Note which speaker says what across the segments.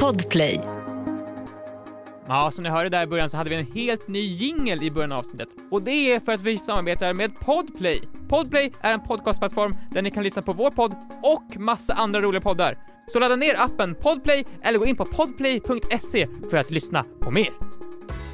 Speaker 1: Podplay.
Speaker 2: Ja, som ni hörde där i början så hade vi en helt ny jingel i början av avsnittet. Och det är för att vi samarbetar med Podplay. Podplay är en podcastplattform där ni kan lyssna på vår podd och massa andra roliga poddar. Så ladda ner appen Podplay eller gå in på podplay.se för att lyssna på mer.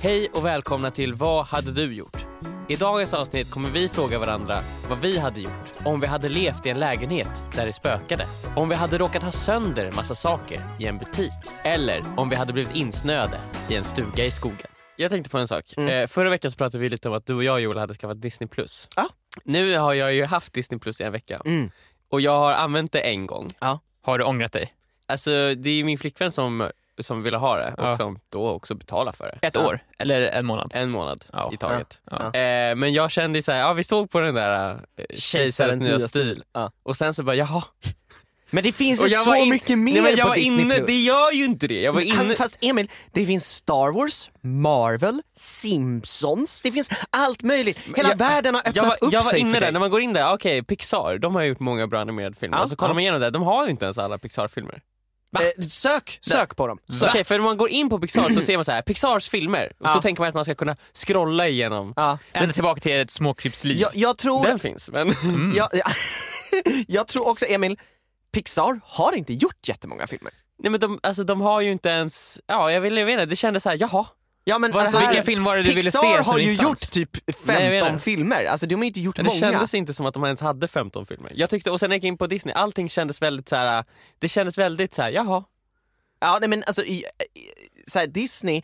Speaker 3: Hej och välkomna till Vad hade du gjort? I dagens avsnitt kommer vi fråga varandra vad vi hade gjort om vi hade levt i en lägenhet där det spökade. Om vi hade råkat ha sönder massa saker i en butik. Eller om vi hade blivit insnöade i en stuga i skogen. Jag tänkte på en sak. Eh, förra veckan så pratade vi lite om att du och jag Joel hade skaffat Disney+. Plus.
Speaker 4: Ja.
Speaker 3: Nu har jag ju haft Disney Plus i en vecka
Speaker 4: Mm.
Speaker 3: och jag har använt det en gång.
Speaker 2: Har du ångrat dig?
Speaker 3: Alltså det är ju min flickvän som, som ville ha det och
Speaker 2: Ja.
Speaker 3: som då också betalar för det.
Speaker 2: Ett år? Eller en månad?
Speaker 3: En månad
Speaker 2: Ja.
Speaker 3: i taget.
Speaker 2: Ja.
Speaker 3: Eh, men jag kände ju såhär, ja vi såg på den där eh, Kejsarens nya stil.
Speaker 4: Ja.
Speaker 3: och sen så bara jaha.
Speaker 4: Men det finns
Speaker 3: Och
Speaker 4: ju
Speaker 3: jag
Speaker 4: så
Speaker 3: var in-
Speaker 4: mycket mer
Speaker 3: Nej, men jag
Speaker 4: på
Speaker 3: var
Speaker 4: Disney+.
Speaker 3: inne, det gör ju inte det. Jag var
Speaker 4: Han,
Speaker 3: inne,
Speaker 4: fast Emil, det finns Star Wars, Marvel, Simpsons, det finns allt möjligt. Hela
Speaker 3: jag-
Speaker 4: världen har öppnat
Speaker 3: jag var,
Speaker 4: upp
Speaker 3: jag var
Speaker 4: sig
Speaker 3: inne
Speaker 4: för
Speaker 3: där,
Speaker 4: dig.
Speaker 3: när man går in där, okej Pixar, de har gjort många bra animerade filmer.
Speaker 4: Ja,
Speaker 3: och så kollar
Speaker 4: ja.
Speaker 3: man igenom det, de har ju inte ens alla Pixar-filmer.
Speaker 4: Eh, sök, sök på dem.
Speaker 3: Okej,
Speaker 4: Sök.
Speaker 3: för när man går in på Pixar så ser man så här, Pixars filmer, och så
Speaker 4: Ja.
Speaker 3: tänker man att man ska kunna scrolla igenom.
Speaker 4: Ja.
Speaker 2: Ända tillbaka till ett småkrypsliv.
Speaker 4: Jag, jag tror...
Speaker 3: Den finns, men
Speaker 4: Jag, jag, jag tror också Emil, Pixar har inte gjort jättemånga filmer.
Speaker 3: Nej men de, alltså, de har ju inte ens, ja jag, vill, jag vet inte, det kändes såhär, jaha.
Speaker 4: Ja, men,
Speaker 3: Vad-
Speaker 4: alltså,
Speaker 2: Vilken film var det du
Speaker 4: Pixar
Speaker 2: ville se som
Speaker 4: har
Speaker 2: det
Speaker 4: ju
Speaker 2: inte
Speaker 4: gjort
Speaker 2: fanns?
Speaker 4: typ
Speaker 3: Nej, jag
Speaker 4: 15
Speaker 3: menar.
Speaker 4: filmer, alltså de har ju inte gjort
Speaker 3: Det
Speaker 4: många.
Speaker 3: kändes inte som att de ens hade 15 filmer. Jag tyckte, och sen när jag gick in på Disney, allting kändes väldigt så här. det kändes väldigt så här, jaha.
Speaker 4: Ja, nej, men alltså, i, i, så här, Disney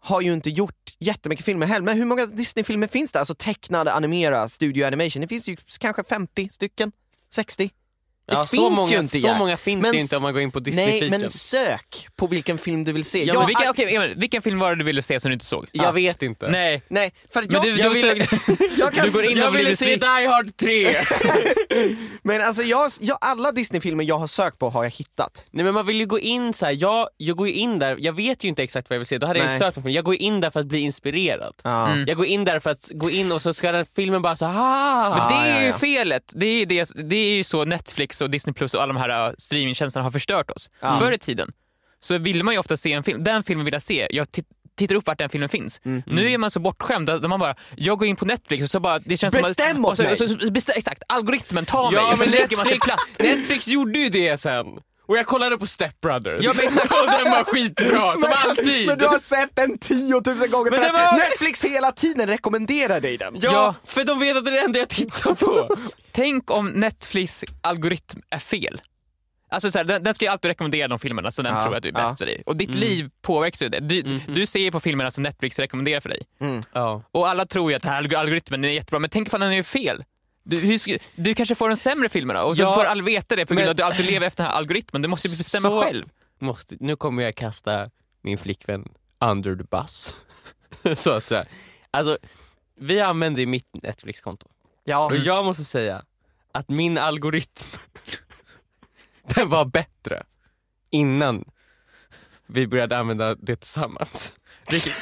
Speaker 4: har ju inte gjort jättemycket filmer heller, men hur många Disney-filmer finns det? Alltså tecknade, animera, studio animation. Det finns ju kanske 50 stycken, 60. Det
Speaker 3: Ja,
Speaker 4: finns
Speaker 3: så många,
Speaker 4: ju inte
Speaker 3: Så
Speaker 4: Jack.
Speaker 3: många finns
Speaker 4: Men
Speaker 3: det inte om man går in på
Speaker 4: Nej,
Speaker 3: Disney-fiken.
Speaker 4: men sök på vilken film du vill se.
Speaker 2: Ja,
Speaker 4: Jag-
Speaker 2: men vilken, okej, Emil, vilken film var det du ville se som du inte såg?
Speaker 3: Jag vet inte.
Speaker 2: Nej.
Speaker 4: Nej, för att
Speaker 2: Men
Speaker 4: jag,
Speaker 2: du,
Speaker 4: jag
Speaker 2: du,
Speaker 4: vill-
Speaker 2: såg-
Speaker 4: jag kan
Speaker 2: du går in
Speaker 4: jag
Speaker 2: och blir
Speaker 4: vill-
Speaker 2: besviken.
Speaker 3: Die Hard 3!
Speaker 4: Men alltså jag, jag, alla Disney-filmer jag har sökt på har jag hittat.
Speaker 3: Nej men man vill ju gå in så här. Jag, jag går ju in där, jag vet ju inte exakt vad jag vill se, då hade jag ju
Speaker 4: Nej.
Speaker 3: sökt på film. Jag går in där för att bli inspirerad.
Speaker 4: Mm.
Speaker 3: Jag går in där för att gå in och så ska den filmen bara så här.
Speaker 2: Men
Speaker 4: Ah,
Speaker 2: det är
Speaker 4: ja,
Speaker 2: ju
Speaker 4: ja.
Speaker 2: felet. Det är ju, det, det är ju så Netflix och Disney Plus och alla de här äh, streamingtjänsterna har förstört oss. Förr i tiden så ville man ju ofta se en film. Den filmen vill jag se. Jag tit- tittar upp vart den filmen finns.
Speaker 4: Mm,
Speaker 2: Nu är man så bortskämd där där man bara, jag går in på Netflix och så bara, det känns
Speaker 4: Bestäm
Speaker 2: som att...
Speaker 4: åt
Speaker 2: och så-
Speaker 4: mig.
Speaker 2: och så, så, bestä, Exakt, algoritmen tar mig
Speaker 3: Ja
Speaker 2: och så
Speaker 3: men
Speaker 2: lägger man sig
Speaker 3: Netflix,
Speaker 2: platt.
Speaker 3: Netflix gjorde ju det sen. Och jag kollade på Step Brothers.
Speaker 2: Ja, men exakt.
Speaker 3: och den var skitbra, som alltid.
Speaker 4: Men du har sett den 10 000 gånger
Speaker 3: Men
Speaker 4: för
Speaker 3: det
Speaker 4: att
Speaker 3: var-
Speaker 4: Netflix hela tiden rekommenderar dig den.
Speaker 3: Ja,
Speaker 2: Ja.
Speaker 3: för de vet att det är det enda jag tittar på.
Speaker 2: Tänk om Netflix algoritm är fel. Alltså så här, den, den ska ju alltid rekommendera de filmerna som den
Speaker 4: Ja,
Speaker 2: tror att du är
Speaker 4: ja. Mm.
Speaker 2: bäst för dig. Och ditt liv påverkas ju av det. Du, du ser ju på filmerna som Netflix rekommenderar för dig.
Speaker 4: Mm.
Speaker 3: Ja.
Speaker 2: Och alla tror ju att den här alg- algoritmen är jättebra, men tänk ifall den är fel. Du, hur, sk- du kanske får de sämre filmerna och så
Speaker 3: Ja,
Speaker 2: får alla veta det på grund
Speaker 3: men-
Speaker 2: av att du alltid lever efter den här algoritmen. Du måste ju bestämma
Speaker 3: Så-
Speaker 2: själv.
Speaker 3: Måste, nu kommer jag kasta min flickvän under the bus. så att säga. Alltså, vi använder ju mitt Netflix-konto.
Speaker 4: Ja.
Speaker 3: Och jag måste säga att min algoritm, den var bättre innan vi började använda det tillsammans.
Speaker 2: Vilken,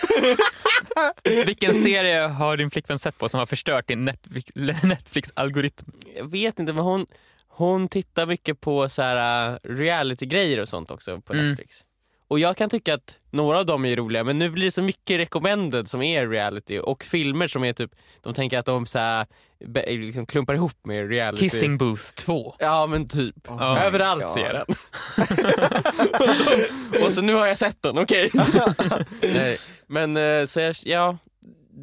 Speaker 2: vilken serie har din flickvän sett på som har förstört din Netflix- Netflix-algoritm?
Speaker 3: jag vet inte men hon, hon tittar mycket på så här äh, reality-grejer och sånt också på
Speaker 2: Mm.
Speaker 3: Netflix. Och jag kan tycka att några av dem är roliga men nu blir det så mycket recommended som är reality och filmer som är typ, de tänker att de så här, be- liksom klumpar ihop med reality.
Speaker 2: Kissing Booth 2.
Speaker 3: Ja men typ.
Speaker 2: Oh my
Speaker 3: Överallt
Speaker 4: God.
Speaker 3: ser jag den. och så nu har jag sett den, okej. Nej, men eh, så jag, ja,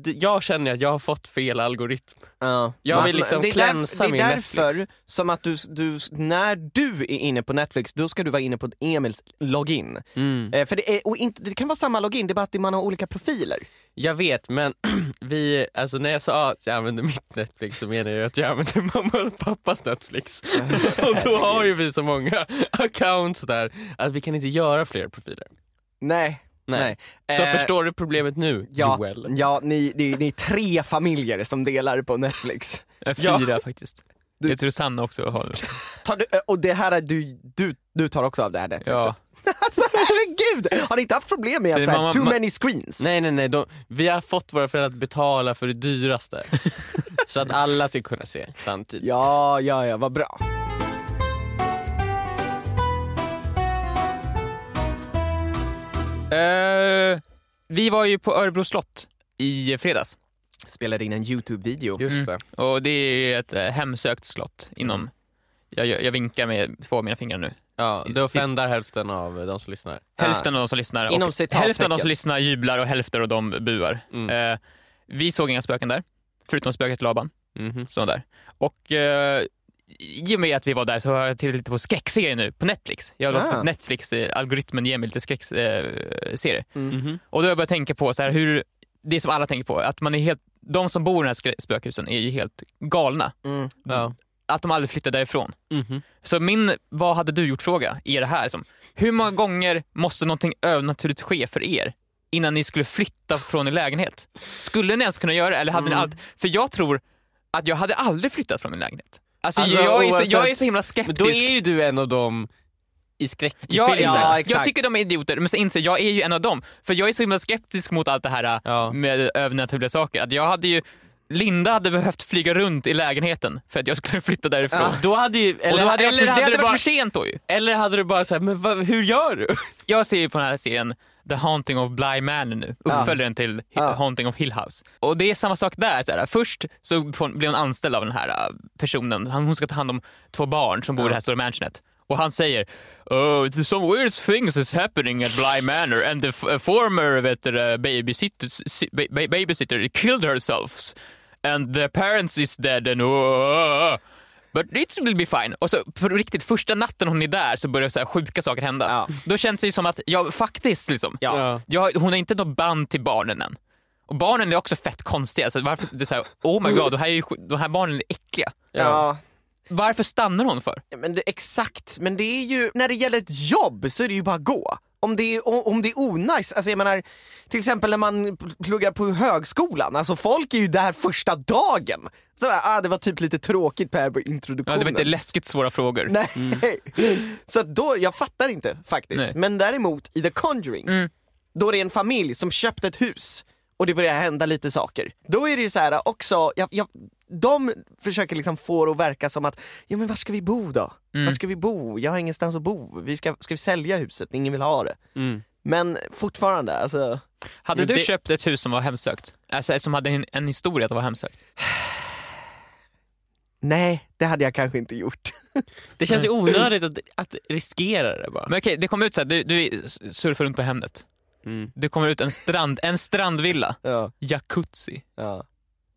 Speaker 3: d- jag känner att jag har fått fel algoritm.
Speaker 4: Ja.
Speaker 3: Jag
Speaker 4: Man-
Speaker 3: vill liksom
Speaker 4: det är
Speaker 3: klänsa
Speaker 4: därf-
Speaker 3: min
Speaker 4: Det är
Speaker 3: Netflix.
Speaker 4: därför som att du, du, när du är inne på Netflix, då ska du vara inne på Emils login.
Speaker 2: Mm.
Speaker 4: Eh, för det, är, och inte, det kan vara samma login, det är bara att man har olika profiler.
Speaker 3: Jag vet men vi, alltså när jag sa att jag använder mitt Netflix så menar jag att jag använder mamma och pappas Netflix. och då har ju vi så många accounts där att vi kan inte göra fler profiler.
Speaker 4: Nej.
Speaker 3: Nej.
Speaker 4: Nej.
Speaker 3: Så
Speaker 4: Eh,
Speaker 3: förstår du problemet nu
Speaker 4: Ja,
Speaker 3: Joel?
Speaker 4: ja ni, ni, ni är tre familjer som delar på Netflix.
Speaker 2: Fyra faktiskt. Jag tror Sanna också har
Speaker 4: Tar du, eh, och det här är du, du, du tar också av det här Netflix?
Speaker 2: Ja.
Speaker 4: Alltså herregud! Har ni inte haft problem med
Speaker 2: Det är
Speaker 4: att så
Speaker 2: mamma-
Speaker 4: här, too
Speaker 2: ma-
Speaker 4: many screens?
Speaker 3: Nej nej nej, de, vi har fått våra föräldrar att betala för det dyraste. så att alla ska kunna se samtidigt.
Speaker 4: Ja, ja, ja, vad bra.
Speaker 2: Eh, vi var ju på Örebro slott i fredags.
Speaker 4: Spelade in en YouTube-video. Mm.
Speaker 2: Just Och det är ett eh, hemsökt slott inom... Jag, jag, jag vinkar med två av mina fingrar nu.
Speaker 3: Ja,
Speaker 2: Si-
Speaker 3: det
Speaker 2: si-
Speaker 3: offendar hälften av de som lyssnar.
Speaker 2: Hälften av de som lyssnar
Speaker 4: Inom
Speaker 2: och
Speaker 4: citattecken.
Speaker 2: hälften av de som lyssnar jublar och hälften av dem buar.
Speaker 4: Mm.
Speaker 2: Eh, vi såg inga spöken där, förutom spöket Laban
Speaker 3: Mhm.
Speaker 2: som var där. Och eh, i och med att vi var där så har jag tittat lite på skräckserier nu på Netflix. Jag har låtit
Speaker 4: Ah.
Speaker 2: att Netflix, eh, algoritmen ger mig lite eh, skräckserier.
Speaker 4: Mm.
Speaker 3: Mhm.
Speaker 2: Och då har jag börjat tänka på så här hur, det som alla tänker på, att man är helt, de som bor i de här skrä- spökhusen är ju helt galna.
Speaker 4: Mm.
Speaker 3: Ja.
Speaker 2: Att de aldrig flyttar därifrån.
Speaker 3: Mhm.
Speaker 2: Så min vad hade du gjort-fråga är det här. Som, hur många gånger måste någonting övernaturligt ske för er innan ni skulle flytta från er lägenhet? Skulle ni ens kunna göra det? Eller hade
Speaker 3: Mm.
Speaker 2: ni allt? För jag tror att jag hade aldrig flyttat från min lägenhet. Alltså,
Speaker 3: Alltså,
Speaker 2: jag, är så, jag är
Speaker 3: oavsett-
Speaker 2: så himla
Speaker 3: Men
Speaker 2: skeptisk.
Speaker 3: då är ju du en av dem i skräck i
Speaker 2: Ja,
Speaker 3: filmen.
Speaker 2: exakt.
Speaker 4: Ja, exakt.
Speaker 2: Jag tycker de är idioter, men så inser jag, jag är ju en av dem. För jag är så himla skeptisk mot allt det här
Speaker 3: Ja.
Speaker 2: med övernaturliga saker. Att jag hade ju, Linda hade behövt flyga runt i lägenheten för att jag skulle flytta därifrån.
Speaker 3: Då hade ju, eller,
Speaker 2: Och då hade jag,
Speaker 3: eller,
Speaker 2: det hade
Speaker 3: hade du
Speaker 2: varit
Speaker 3: bara,
Speaker 2: för sent då ju.
Speaker 3: eller hade du bara såhär, men vad, hur gör du?
Speaker 2: Jag ser ju på den här serien The Haunting of Bly Manor nu, uppföljaren till Hi-
Speaker 4: Ja.
Speaker 2: Haunting of Hill House. Och det är samma sak där. Så här, först så får- blir hon anställd av den här äh, personen. Han- Hon ska ta hand om två barn som bor i det här stora mansionet. Och han säger oh, “Some weird things is happening at Bly Manor and the f- uh, former vet du, uh, babysitter, si- ba- ba- babysitter killed herself and the parents is dead and oh, But it will be fine. Och så på riktigt, första natten hon är där så börjar så här sjuka saker hända.
Speaker 4: Ja.
Speaker 2: Då känns det ju som att, ja faktiskt liksom.
Speaker 4: Ja.
Speaker 2: Jag, hon har inte något band till barnen än. Och barnen är också fett konstiga. Så varför, det är så här, oh my god, de här, är ju, sj- de här barnen är äckliga.
Speaker 4: Ja.
Speaker 2: Varför stannar hon för?
Speaker 4: Men det, exakt, men det är ju, när det gäller ett jobb så är det ju bara att gå. Om det är, o- om det är onajs, alltså jag menar, till exempel när man pl- pluggar på högskolan, alltså folk är ju där första dagen. Så, bara, ah, det var typ lite tråkigt Per på
Speaker 2: Ja,
Speaker 4: introduktionen.
Speaker 2: det var inte läskigt svåra frågor.
Speaker 4: Nej, så att då, jag fattar inte faktiskt.
Speaker 2: Nej. Mm.
Speaker 4: Men däremot i The Conjuring, då är det en familj som köpt ett hus och det börjar hända lite saker. Då är det ju så här också, jag, jag, de försöker liksom få det att verka som att, ja men var ska vi bo då?
Speaker 2: Mm.
Speaker 4: Var ska vi bo? Jag har ingenstans att bo. Vi ska, ska vi sälja huset? Ingen vill ha det.
Speaker 2: Mm.
Speaker 4: Men fortfarande, alltså.
Speaker 2: Hade du
Speaker 3: Det-
Speaker 2: köpt ett hus som var hemsökt? Alltså som hade en, en historia att vara hemsökt?
Speaker 4: Nej, det hade jag kanske inte gjort.
Speaker 3: Det känns ju onödigt att, att riskera det bara.
Speaker 2: Men okej, det kom ut så här, du, du surfar runt på Hemnet.
Speaker 3: Mm.
Speaker 2: Det kommer ut en, strand, en strandvilla,
Speaker 4: Ja,
Speaker 2: jacuzzi,
Speaker 4: ja.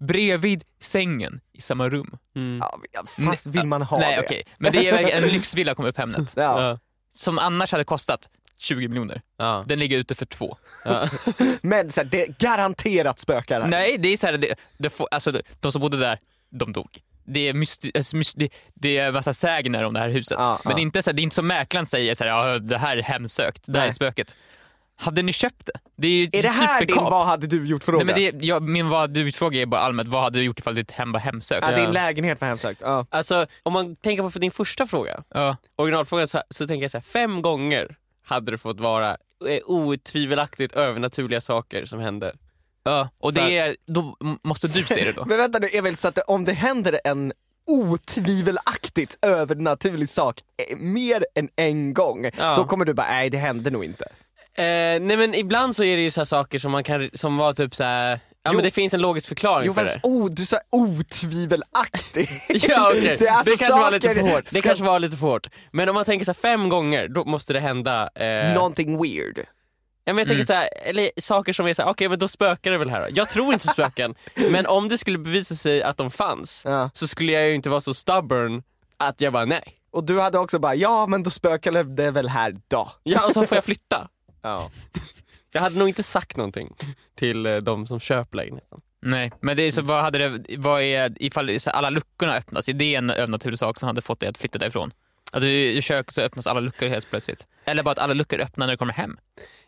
Speaker 2: bredvid sängen i samma rum.
Speaker 3: Mm.
Speaker 4: ja fast vill man ha
Speaker 2: Nej
Speaker 4: det?
Speaker 2: okej, men det är verkligen- en lyxvilla kom upp på Hemnet.
Speaker 4: Ja.
Speaker 2: Som annars hade kostat 20 miljoner.
Speaker 3: Ja.
Speaker 2: Den ligger ute för två.
Speaker 4: Men så här, det är garanterat spökar här.
Speaker 2: Nej, det är så här, det, det får, alltså, det- de som bodde där, de dog. Det är, mysti- alltså, mysti- det, det är massa sägner om det här huset.
Speaker 4: Ja,
Speaker 2: Men
Speaker 4: ja.
Speaker 2: Det, är inte så här, det är inte som mäklaren säger, så här, ja, det här är hemsökt, det här är
Speaker 4: Nej.
Speaker 2: spöket. Hade ni köpt det? Det är ju
Speaker 4: Är det här din
Speaker 2: superkap.
Speaker 4: vad hade du gjort fråga?
Speaker 2: Nej, men det, är- jag, min vad du fråga är bara allmänt, vad hade du gjort ifall ditt hem var hemsökt?
Speaker 4: ja, din lägenhet var hemsökt. Ja.
Speaker 3: Alltså, om man tänker på för din första fråga,
Speaker 2: Ja.
Speaker 3: originalfrågan, så, så tänker jag så här, fem gånger hade det fått vara eh, otvivelaktigt övernaturliga saker som hände.
Speaker 2: Ja, och det är, då m- måste du se det då.
Speaker 4: Men vänta nu Emil, så att om det händer en otvivelaktigt övernaturlig sak eh, mer än en gång,
Speaker 3: Ja.
Speaker 4: då kommer du bara nej det hände nog inte.
Speaker 3: Eh, nej men ibland så är det ju så här saker som man kan, som var typ så här, ja
Speaker 4: Jo.
Speaker 3: men det finns en logisk förklaring
Speaker 4: Jo
Speaker 3: för
Speaker 4: fast
Speaker 3: det.
Speaker 4: oh, du sa otvivelaktigt.
Speaker 3: Ja, okej.
Speaker 4: Det
Speaker 3: Det,
Speaker 4: är alltså
Speaker 3: kanske var lite
Speaker 4: saker-
Speaker 3: för hårt. Det
Speaker 4: ska-
Speaker 3: kanske var lite för hårt. Men om man tänker så här, fem gånger, då måste det hända... Eh,
Speaker 4: Någonting weird.
Speaker 3: ja, men jag tänker så här, eller saker som är så här, okej men då spökar det väl här då. Jag tror inte på spöken, men om det skulle bevisa sig att de fanns,
Speaker 4: Ja.
Speaker 3: så skulle jag ju inte vara så stubborn att jag bara nej.
Speaker 4: Och du hade också bara ja men då spökade det väl här då.
Speaker 3: Ja, och så får jag flytta.
Speaker 4: Ja.
Speaker 3: Jag hade nog inte sagt någonting till eh, de som köper lägenheten.
Speaker 2: Nej, men det är så, vad hade det, vad är, ifall så alla luckorna öppnas, är det en övernaturlig sak som hade fått dig att flytta därifrån? Att du är i köket så öppnas alla luckor helt plötsligt. Eller bara att alla luckor öppnar när du kommer hem.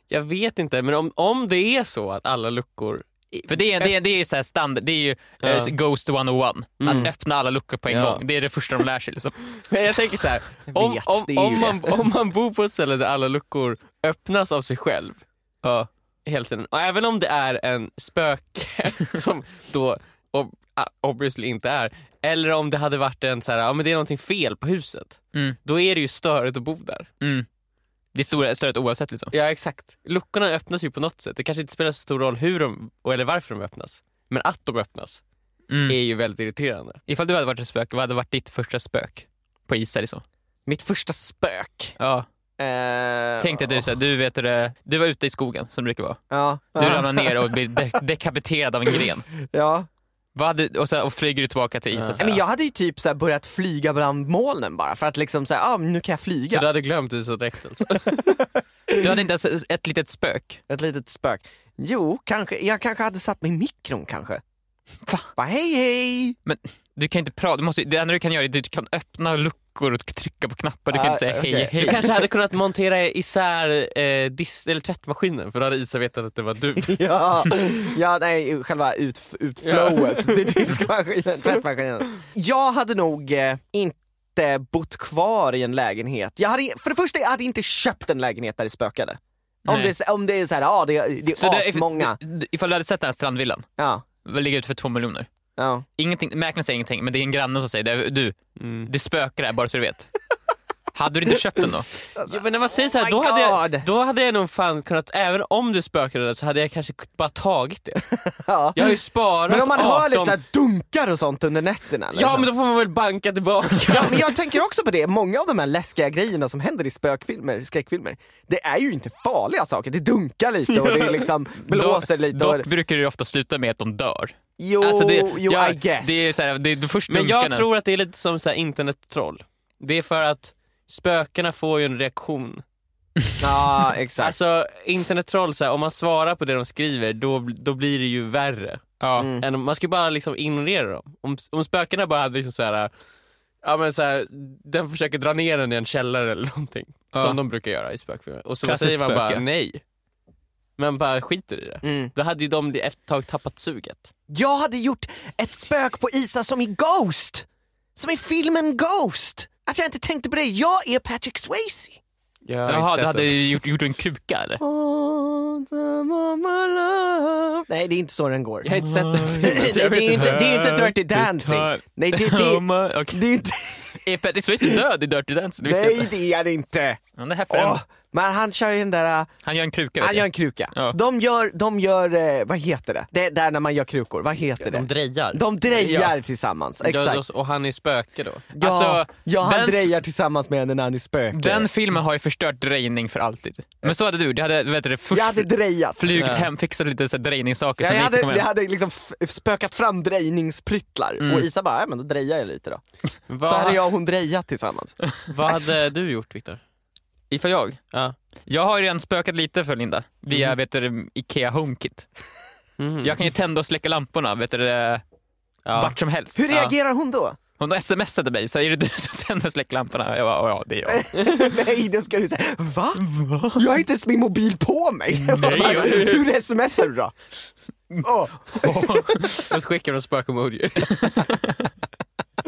Speaker 3: Jag vet inte, men om, om det är så att alla luckor...
Speaker 2: För det är, det är, det är så här standard, det är ju eh, Ghost 101. Att öppna alla luckor på en
Speaker 3: Ja.
Speaker 2: gång, det är det första de lär sig. Liksom.
Speaker 3: Men jag tänker så här, om,
Speaker 4: vet, det
Speaker 3: om,
Speaker 4: är ju
Speaker 3: om, man, om man bor på ett ställe där alla luckor öppnas av sig själv ja. hela tiden, och även om det är en spöke som då ob- ah, obviously inte är, eller om det hade varit en så här, ja men det är någonting fel på huset,
Speaker 2: Mm.
Speaker 3: då är det ju störigt att bo där.
Speaker 2: Mm. Det är stora, större oavsett liksom.
Speaker 3: Ja, exakt. Luckorna öppnas ju på något sätt. Det kanske inte spelar så stor roll hur de, och- eller varför de öppnas. Men att de öppnas
Speaker 2: Mm.
Speaker 3: är ju väldigt irriterande.
Speaker 2: Ifall du hade varit ett spöke, vad hade varit ditt första spök? På is liksom.
Speaker 4: Mitt första spök.
Speaker 2: Ja.
Speaker 4: Eh,
Speaker 2: Tänk dig att du, så här, du, vet, hur det- du var ute i skogen som du brukar vara.
Speaker 4: Ja.
Speaker 2: Du ramlar ner och blir de- dekapiterad av en gren.
Speaker 4: Ja.
Speaker 2: Vad hade, och, så här, och flyger du tillbaka till isen. så här.
Speaker 4: Men jag hade ju typ så här börjat flyga bland molnen bara för att liksom säga, ah, men nu kan jag
Speaker 3: Så du
Speaker 4: flyga.
Speaker 3: hade glömt isodräkten. Alltså.
Speaker 2: Du hade inte ens ett litet spök.
Speaker 4: Ett litet spök. Jo, kanske. Jag kanske hade satt mig i mikron kanske. Bara hej hej!
Speaker 2: Du kan inte prata, du måste, det enda du kan göra är att du kan öppna luckor och trycka på knappar. Du kan
Speaker 4: Ah,
Speaker 2: inte säga hej
Speaker 4: okej.
Speaker 2: hej.
Speaker 3: Du kanske hade kunnat montera isär eh, dis- eller tvättmaskinen för då hade Isa vetat att det var du.
Speaker 4: Ja, ja nej, själva ut, utflowet. Det är diskmaskinen, tvättmaskinen. Jag hade nog eh, inte bott kvar i en lägenhet. Jag hade, för det första, jag hade inte köpt en lägenhet där det spökade. Om
Speaker 2: Nej.
Speaker 4: det, är så- om det är så här, ja det, är- det är
Speaker 2: Så det-
Speaker 4: asmånga.
Speaker 2: Ifall du hade sett den här strandvillan,
Speaker 4: Ja,
Speaker 2: vad ligger ute för två miljoner.
Speaker 4: ja.
Speaker 2: Ingenting, mäklaren säger ingenting, men det är en granne som säger det. Du,
Speaker 3: Mm.
Speaker 2: det spökar där bara så du vet. Hade du inte köpt den då?
Speaker 3: Ja, men när man säger så
Speaker 4: Oh
Speaker 3: här,
Speaker 4: my
Speaker 3: då hade,
Speaker 4: God.
Speaker 3: jag, då hade jag nog fan kunnat, även om du spökade där, så hade jag kanske bara tagit det.
Speaker 4: ja.
Speaker 3: Jag har ju sparat
Speaker 4: Men om man
Speaker 3: 18...
Speaker 4: hör lite så här dunkar och sånt under nätterna. eller?
Speaker 3: Ja men då får man väl banka tillbaka.
Speaker 4: Ja, men jag tänker också på det, många av de här läskiga grejerna som händer i spökfilmer, skräckfilmer, det är ju inte farliga saker. Det dunkar lite och det liksom blåser lite. och...
Speaker 2: Dock brukar det ju ofta sluta med att de dör.
Speaker 4: Jo,
Speaker 2: Alltså det,
Speaker 4: Oh, jo
Speaker 2: jag-
Speaker 4: I guess.
Speaker 2: Det är så här, det är först
Speaker 3: Men jag
Speaker 2: dunkarna.
Speaker 3: tror att det är lite som så här internettroll. Det är för att spökena får ju en reaktion.
Speaker 4: Ja, exakt.
Speaker 3: Alltså internettroll, så här, om man svarar på det de skriver då, då blir det ju värre.
Speaker 2: Ja.
Speaker 4: Mm.
Speaker 3: Än om, man ska bara liksom ignorera dem. Om, om spökena bara hade liksom så här, ja men så här, den försöker dra ner den i en källare eller någonting.
Speaker 2: Ja.
Speaker 3: Som de brukar göra i spökfilmer. Och så
Speaker 2: Klassiskt
Speaker 3: säger man bara
Speaker 2: spöke.
Speaker 3: nej. Man bara skiter i det.
Speaker 4: Mm.
Speaker 3: Då hade ju de efter ett tag tappat suget.
Speaker 4: Jag hade gjort ett spök på Isa som i Ghost! Som i filmen Ghost! Att jag inte tänkte på det, jag är Patrick Swayze!
Speaker 2: Jaha, du hade ju gjort, gjort en kuka eller?
Speaker 4: All the mama love. Nej, det är inte så den går.
Speaker 3: Jag har inte sett den filmen.
Speaker 4: Nej,
Speaker 3: så
Speaker 4: det,
Speaker 3: jag
Speaker 4: är
Speaker 3: vet
Speaker 4: inte, det är inte Dirty Dancing. Nej, det, det,
Speaker 2: Okej.
Speaker 4: det är inte...
Speaker 2: Är Patrick Swayze död i Dirty Dancing? Det visste jag
Speaker 4: Nej,
Speaker 2: inte.
Speaker 4: det är det inte.
Speaker 2: Ja, det här förändrar-
Speaker 4: Åh, men han kör ju den där... äh,
Speaker 2: Han gör en kruka. vet
Speaker 4: Han gör
Speaker 2: jag.
Speaker 4: en kruka.
Speaker 2: Ja.
Speaker 4: De gör, de gör eh, vad heter det? Det är där när man gör krukor, vad heter det?
Speaker 3: De drejar.
Speaker 4: De drejar tillsammans, exakt.
Speaker 3: Exakt. Och han är spöke då.
Speaker 4: Ja,
Speaker 2: Alltså,
Speaker 4: ja han
Speaker 2: den-
Speaker 4: drejar tillsammans med henne när han är spöke.
Speaker 2: Den filmen har ju förstört drejning för alltid. Men så hade du. Du hade vet du, det, först
Speaker 4: jag hade drejat.
Speaker 2: flugit
Speaker 3: Ja.
Speaker 2: hem, fixat lite så här drejningssaker.
Speaker 4: Ja,
Speaker 2: sen
Speaker 4: jag,
Speaker 2: Lisa
Speaker 4: hade,
Speaker 2: kom
Speaker 4: jag
Speaker 2: hem.
Speaker 4: hade liksom f- spökat fram drejningspryttlar och Isa bara, ja men då drejar jag lite då.
Speaker 3: Vad,
Speaker 4: Så hade jag och hon drejat tillsammans.
Speaker 3: vad hade du gjort Viktor?
Speaker 2: Ifall jag?
Speaker 3: Ja.
Speaker 2: Jag har ju redan spökat lite för Linda via
Speaker 4: Mhm.
Speaker 2: vet du, Ikea HomeKit.
Speaker 3: Mhm.
Speaker 2: Jag kan ju tända och släcka lamporna vet du, det,
Speaker 3: Ja.
Speaker 2: vart som helst.
Speaker 4: Hur
Speaker 3: Ja.
Speaker 4: reagerar hon då?
Speaker 2: Hon smsade mig, så är det du som tänder släcklamporna? Jag bara, "Ja, ja det är jag.
Speaker 4: Nej, då ska du säga, va? Jag har inte ens min mobil på mig. Hur smsar du då? Åh,
Speaker 3: Jag skickar en spökemoji.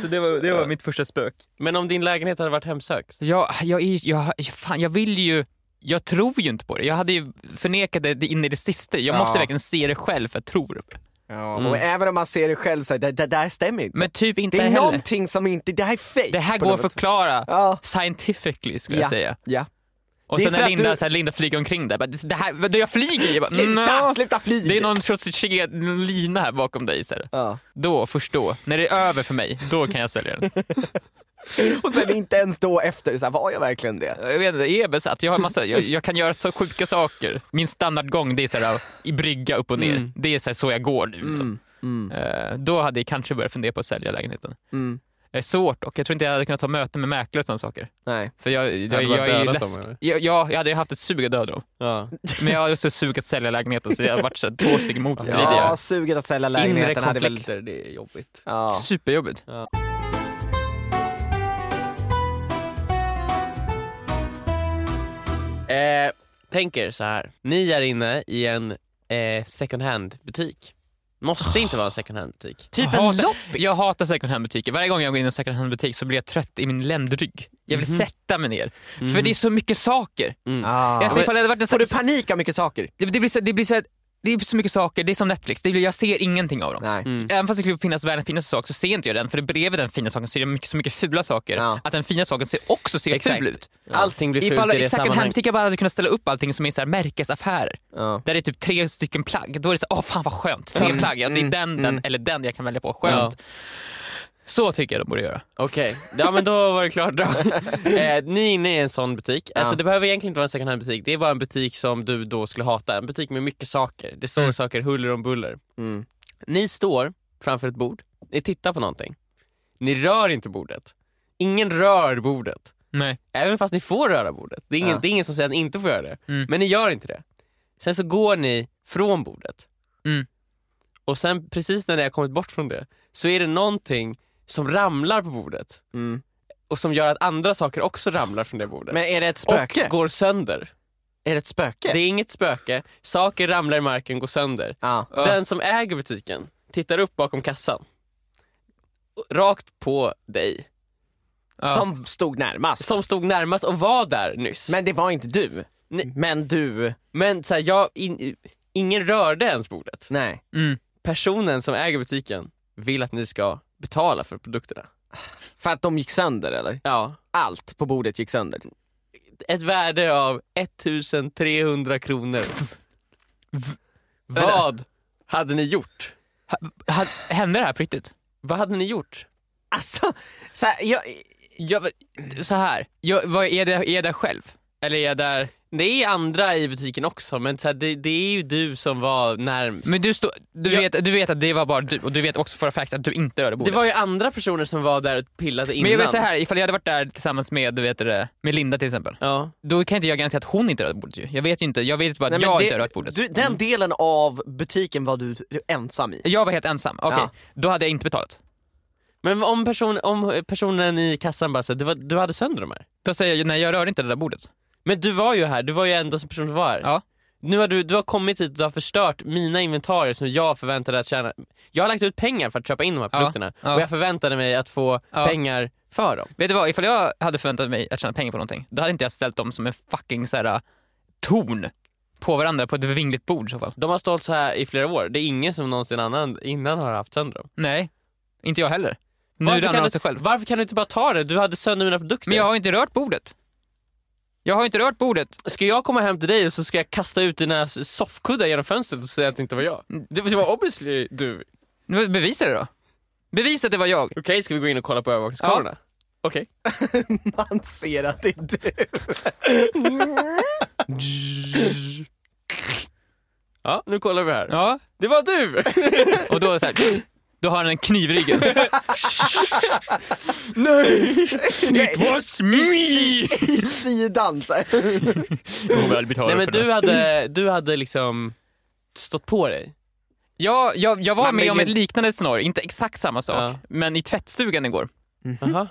Speaker 2: så det, var, det var mitt första spök.
Speaker 3: Men om din lägenhet hade varit hemsökt?
Speaker 2: Jag, jag, är, jag, fan, jag vill ju... Jag tror ju inte på det. Jag hade ju förnekat det in i det sista. Jag
Speaker 4: Ja.
Speaker 2: måste verkligen se det själv för jag tror på det.
Speaker 4: Och även om man ser det själv, så här, det, det där stämmer inte.
Speaker 2: Mm. Men typ inte
Speaker 4: det är
Speaker 2: heller.
Speaker 4: någonting som inte, det här är fejk.
Speaker 2: Det här
Speaker 4: på
Speaker 2: går att
Speaker 4: något sätt.
Speaker 2: förklara
Speaker 4: Ja.
Speaker 2: scientifically skulle
Speaker 4: Ja.
Speaker 2: jag säga.
Speaker 4: Ja.
Speaker 2: Och
Speaker 4: Det är
Speaker 2: sen
Speaker 4: för
Speaker 2: när
Speaker 4: att
Speaker 2: Linda,
Speaker 4: du-
Speaker 2: så här, Linda flyger omkring där. Bara, det här, vad- jag flyger ju! Jag bara,
Speaker 4: Sluta,
Speaker 2: "Nå."
Speaker 4: sluta flyg!
Speaker 2: Det är någon sorts ke- lina här bakom dig. Så här.
Speaker 4: ja.
Speaker 2: Då, först då. När det är över för mig, då kan jag sälja den.
Speaker 4: Och sen inte ens då efter, så här, var jag verkligen det?
Speaker 2: Jag vet inte, är besatt. Jag, har massa, jag, jag kan göra så sjuka saker. Min standardgång det är så här, i brygga upp och ner.
Speaker 3: Mm.
Speaker 2: Det är så, här, så jag går nu. Liksom. Eh, då hade jag kanske börjat fundera på att sälja lägenheten.
Speaker 4: Mm.
Speaker 2: Det är svårt dock. Jag tror inte jag hade kunnat ta möten med mäklare och sådana saker.
Speaker 4: Nej.
Speaker 2: För jag, jag,
Speaker 3: du bara
Speaker 2: jag är ju
Speaker 3: dödat
Speaker 2: läsk...
Speaker 3: dem, eller?
Speaker 2: Ja, ja, jag hade ju haft ett sug att döda dem.
Speaker 3: Ja.
Speaker 2: Men jag har också ett sug att sälja lägenheten så det har varit så här, två stycken motstridiga.
Speaker 4: Ja, suget att sälja
Speaker 3: Inre
Speaker 4: lägenheten hade väl...
Speaker 3: konflikter, det är jobbigt.
Speaker 4: Ja.
Speaker 2: Superjobbigt.
Speaker 3: Ja. Eh, tänk er så här. Ni är inne i en eh, second hand-butik. Måste inte vara en second hand-butik.
Speaker 4: Typ
Speaker 2: Jag
Speaker 4: en
Speaker 2: hatar-
Speaker 4: loppis.
Speaker 2: Jag hatar second hand-butiker. Varje gång jag går in i en second hand-butik så blir jag trött i min ländrygg. Jag
Speaker 3: Mhm.
Speaker 2: vill sätta mig ner. För det är så mycket saker.
Speaker 4: Ah.
Speaker 2: Alltså,
Speaker 4: Men
Speaker 2: ifall det hade varit en
Speaker 4: Får du panik av mycket saker?
Speaker 2: det, det blir så, det blir så här, det är så mycket saker, det är som Netflix, det blir, jag ser ingenting av dem.
Speaker 4: Nej.
Speaker 2: Även fast det skulle finnas världens finaste sak så ser inte jag den för bredvid den fina saken ser jag mycket, så mycket fula saker
Speaker 4: Ja.
Speaker 2: att den fina saken ser också ser
Speaker 3: Exakt.
Speaker 2: ful ut.
Speaker 3: Allting blir fult
Speaker 2: Ifall
Speaker 3: i det
Speaker 2: second hand
Speaker 3: sammanhanget.
Speaker 2: butiker bara hade kunnat ställa upp allting som är så här märkesaffärer
Speaker 4: Ja.
Speaker 2: där det är typ tre stycken plagg, då är det så här, åh fan vad skönt, tre plagg, ja, det är den, den eller den jag kan välja på, skönt. Så tycker jag de borde göra.
Speaker 3: Okej, ja men då var det klart då. eh, ni är inne i en sån butik. Alltså
Speaker 4: Ja.
Speaker 3: det behöver egentligen inte vara en second hand butik. Det är bara en butik som du då skulle hata. En butik med mycket saker. Det står saker huller om buller.
Speaker 4: Mm.
Speaker 3: Ni står framför ett bord. Ni tittar på någonting. Ni rör inte bordet. Ingen rör bordet.
Speaker 2: Nej.
Speaker 3: Även fast ni får röra bordet. Det är ingen,
Speaker 4: Ja.
Speaker 3: det är ingen som säger att ni inte får göra det.
Speaker 2: Mm.
Speaker 3: Men ni gör inte det. Sen så går ni från bordet.
Speaker 2: Mm.
Speaker 3: Och sen precis när ni har kommit bort från det så är det någonting som ramlar på bordet
Speaker 4: Mm.
Speaker 3: och som gör att andra saker också ramlar från det bordet.
Speaker 4: Men är det ett spöke?
Speaker 3: och går sönder.
Speaker 4: Är det ett spöke?
Speaker 3: Det är inget spöke. Saker ramlar i marken och går sönder.
Speaker 4: Ja.
Speaker 3: Den som äger butiken tittar upp bakom kassan. Rakt på dig.
Speaker 4: Som stod närmast.
Speaker 3: Som stod närmast och var där nyss.
Speaker 4: Men det var inte du.
Speaker 3: Nej.
Speaker 2: Mm.
Speaker 4: Men du...
Speaker 3: Men så här, jag, in, ingen rörde ens bordet.
Speaker 4: Nej.
Speaker 3: Personen som äger butiken vill att ni ska betala för produkterna.
Speaker 4: För att de gick sönder eller?
Speaker 3: Ja.
Speaker 4: Allt på bordet gick sönder.
Speaker 3: Ett värde av 1300 kronor.
Speaker 2: Vänta.
Speaker 3: Vad hade ni gjort?
Speaker 2: Ha, hände det här på riktigt?
Speaker 3: Vad hade ni gjort?
Speaker 4: Alltså, så här, jag,
Speaker 2: Jag, så här, jag, vad, är, det, är jag där själv? Eller är jag där...
Speaker 3: Det är andra i butiken också men så här, det, det är ju du som var närmst.
Speaker 2: Men du, stå, du, vet, du vet att det var bara du och du vet också för facts att du inte rörde
Speaker 3: det
Speaker 2: bordet.
Speaker 3: var ju andra personer som var där och pillade innan.
Speaker 2: Men jag vill säga här, ifall jag hade varit där tillsammans med, du vet det, med Linda till exempel.
Speaker 3: Ja.
Speaker 2: Då kan inte jag garantera att hon inte rört bordet ju. Jag vet ju inte, jag vet bara
Speaker 4: nej,
Speaker 2: att
Speaker 4: men
Speaker 2: jag
Speaker 4: det-
Speaker 2: inte har rört bordet. Mm.
Speaker 4: Du, den delen av butiken var du ensam i.
Speaker 2: Jag var helt ensam, okej.
Speaker 4: Ja.
Speaker 2: Då hade jag inte betalat.
Speaker 3: Men om, person, om personen i kassan bara säger du, var- du hade sönder de här.
Speaker 2: Då säger jag, nej jag rör inte det där bordet.
Speaker 3: Men du var ju här, du var ju enda som person som var här.
Speaker 2: Ja.
Speaker 3: Nu har du, du har kommit hit och du har förstört mina inventarier som jag förväntade att tjäna. Jag har lagt ut pengar för att köpa in de här
Speaker 2: Ja,
Speaker 3: produkterna
Speaker 2: ja.
Speaker 3: och jag förväntade mig att få
Speaker 2: Ja.
Speaker 3: pengar för dem.
Speaker 2: Vet du vad, ifall jag hade förväntat mig att tjäna pengar på någonting, då hade inte jag ställt dem som en fucking så här, äh, torn på varandra på ett vingligt bord i så fall.
Speaker 3: De har stått så här i flera år. Det är ingen som någonsin annan, innan har haft sönder dem.
Speaker 2: Nej, inte jag heller. Nu
Speaker 3: Varför
Speaker 2: ramlar
Speaker 3: kan
Speaker 2: de
Speaker 3: du-
Speaker 2: sig själv.
Speaker 3: Varför kan du inte bara ta det? Du hade sönder mina produkter.
Speaker 2: Men jag har inte rört bordet. Jag har inte rört bordet.
Speaker 3: Ska jag komma hem till dig och så ska jag kasta ut dina soffkuddar genom fönstret och säga att det inte var jag?
Speaker 2: Mm.
Speaker 3: Det det var obviously du. Okej,
Speaker 2: Men Bevisa det då. Bevisa att det var jag.
Speaker 3: ska vi gå in och kolla på övervakningskamerorna? Okej.
Speaker 4: Man ser att det är du.
Speaker 3: Ja, nu kollar vi här.
Speaker 2: Ja,
Speaker 3: Det var du!
Speaker 2: och då så här, då har han en kniv i ryggen.
Speaker 4: Nej,
Speaker 2: was me!
Speaker 4: I sidan så här.
Speaker 3: Nej men du hade, du hade liksom stått på dig.
Speaker 2: Ja, jag, jag var
Speaker 4: Man
Speaker 2: med om ett
Speaker 4: lägger-
Speaker 2: liknande scenario, inte exakt samma sak,
Speaker 3: Ja.
Speaker 2: men i tvättstugan igår.
Speaker 3: Jaha,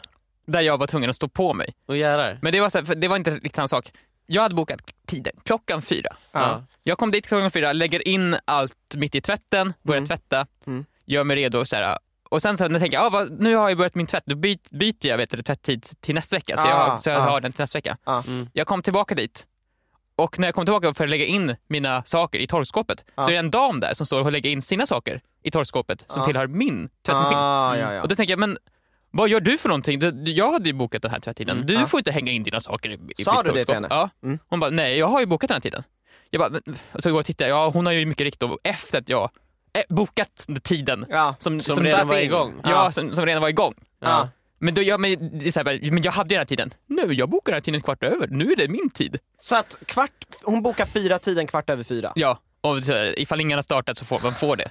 Speaker 2: Där jag var tvungen att stå på mig.
Speaker 3: och jävlar.
Speaker 2: Men det var, så här, för det var inte riktigt samma sak. Jag hade bokat tiden, klockan fyra.
Speaker 3: Ja.
Speaker 2: Jag kom dit klockan fyra, lägger in allt mitt i tvätten, börjar
Speaker 4: Mm.
Speaker 2: tvätta,
Speaker 4: Mm.
Speaker 2: gör mig redo. Och, så här, och sen så när jag tänker jag, ah, vad- nu har jag börjat min tvätt, då byt, byter jag vet du, tvätttid till nästa vecka. Så jag, har,
Speaker 4: Ah,
Speaker 2: så jag
Speaker 4: ah.
Speaker 2: har den till nästa vecka.
Speaker 4: Ja.
Speaker 3: Mm.
Speaker 2: Jag kom tillbaka dit och när jag kom tillbaka för att lägga in mina saker i torkskåpet
Speaker 4: Ja.
Speaker 2: så är det en dam där som står och lägger in sina saker i torkskåpet som
Speaker 4: Ja.
Speaker 2: tillhör min tvättmaskin.
Speaker 4: Ah, ja, ja.
Speaker 2: Och då tänker jag, men vad gör du för någonting? Du- du- Jag hade ju bokat den här tvättiden. Du
Speaker 4: Mm, Ja.
Speaker 2: får inte hänga in dina saker i, i
Speaker 4: Sa
Speaker 2: mitt
Speaker 4: du det till
Speaker 2: torkskåp.
Speaker 4: henne?
Speaker 2: Ja.
Speaker 4: Mm.
Speaker 2: Hon bara, nej jag har ju bokat den här tiden. Jag bara, men- så går jag och tittar, ja hon har ju mycket riktigt då efter att jag eh, bokat tiden
Speaker 4: Ja.
Speaker 2: som,
Speaker 3: Som,
Speaker 2: som,
Speaker 4: satt
Speaker 3: redan var
Speaker 4: in.
Speaker 3: igång.
Speaker 2: ja, som, som redan var igång.
Speaker 4: Ja.
Speaker 2: Men, då, ja, men, det är så här, bara, men jag hade den här tiden. Nu, jag bokar den här tiden kvart över. Nu är det min tid.
Speaker 4: Så att kvart, hon bokar fyra tiden kvart över fyra.
Speaker 2: Ja, och så, här, ifall ingen har startat så får man får det.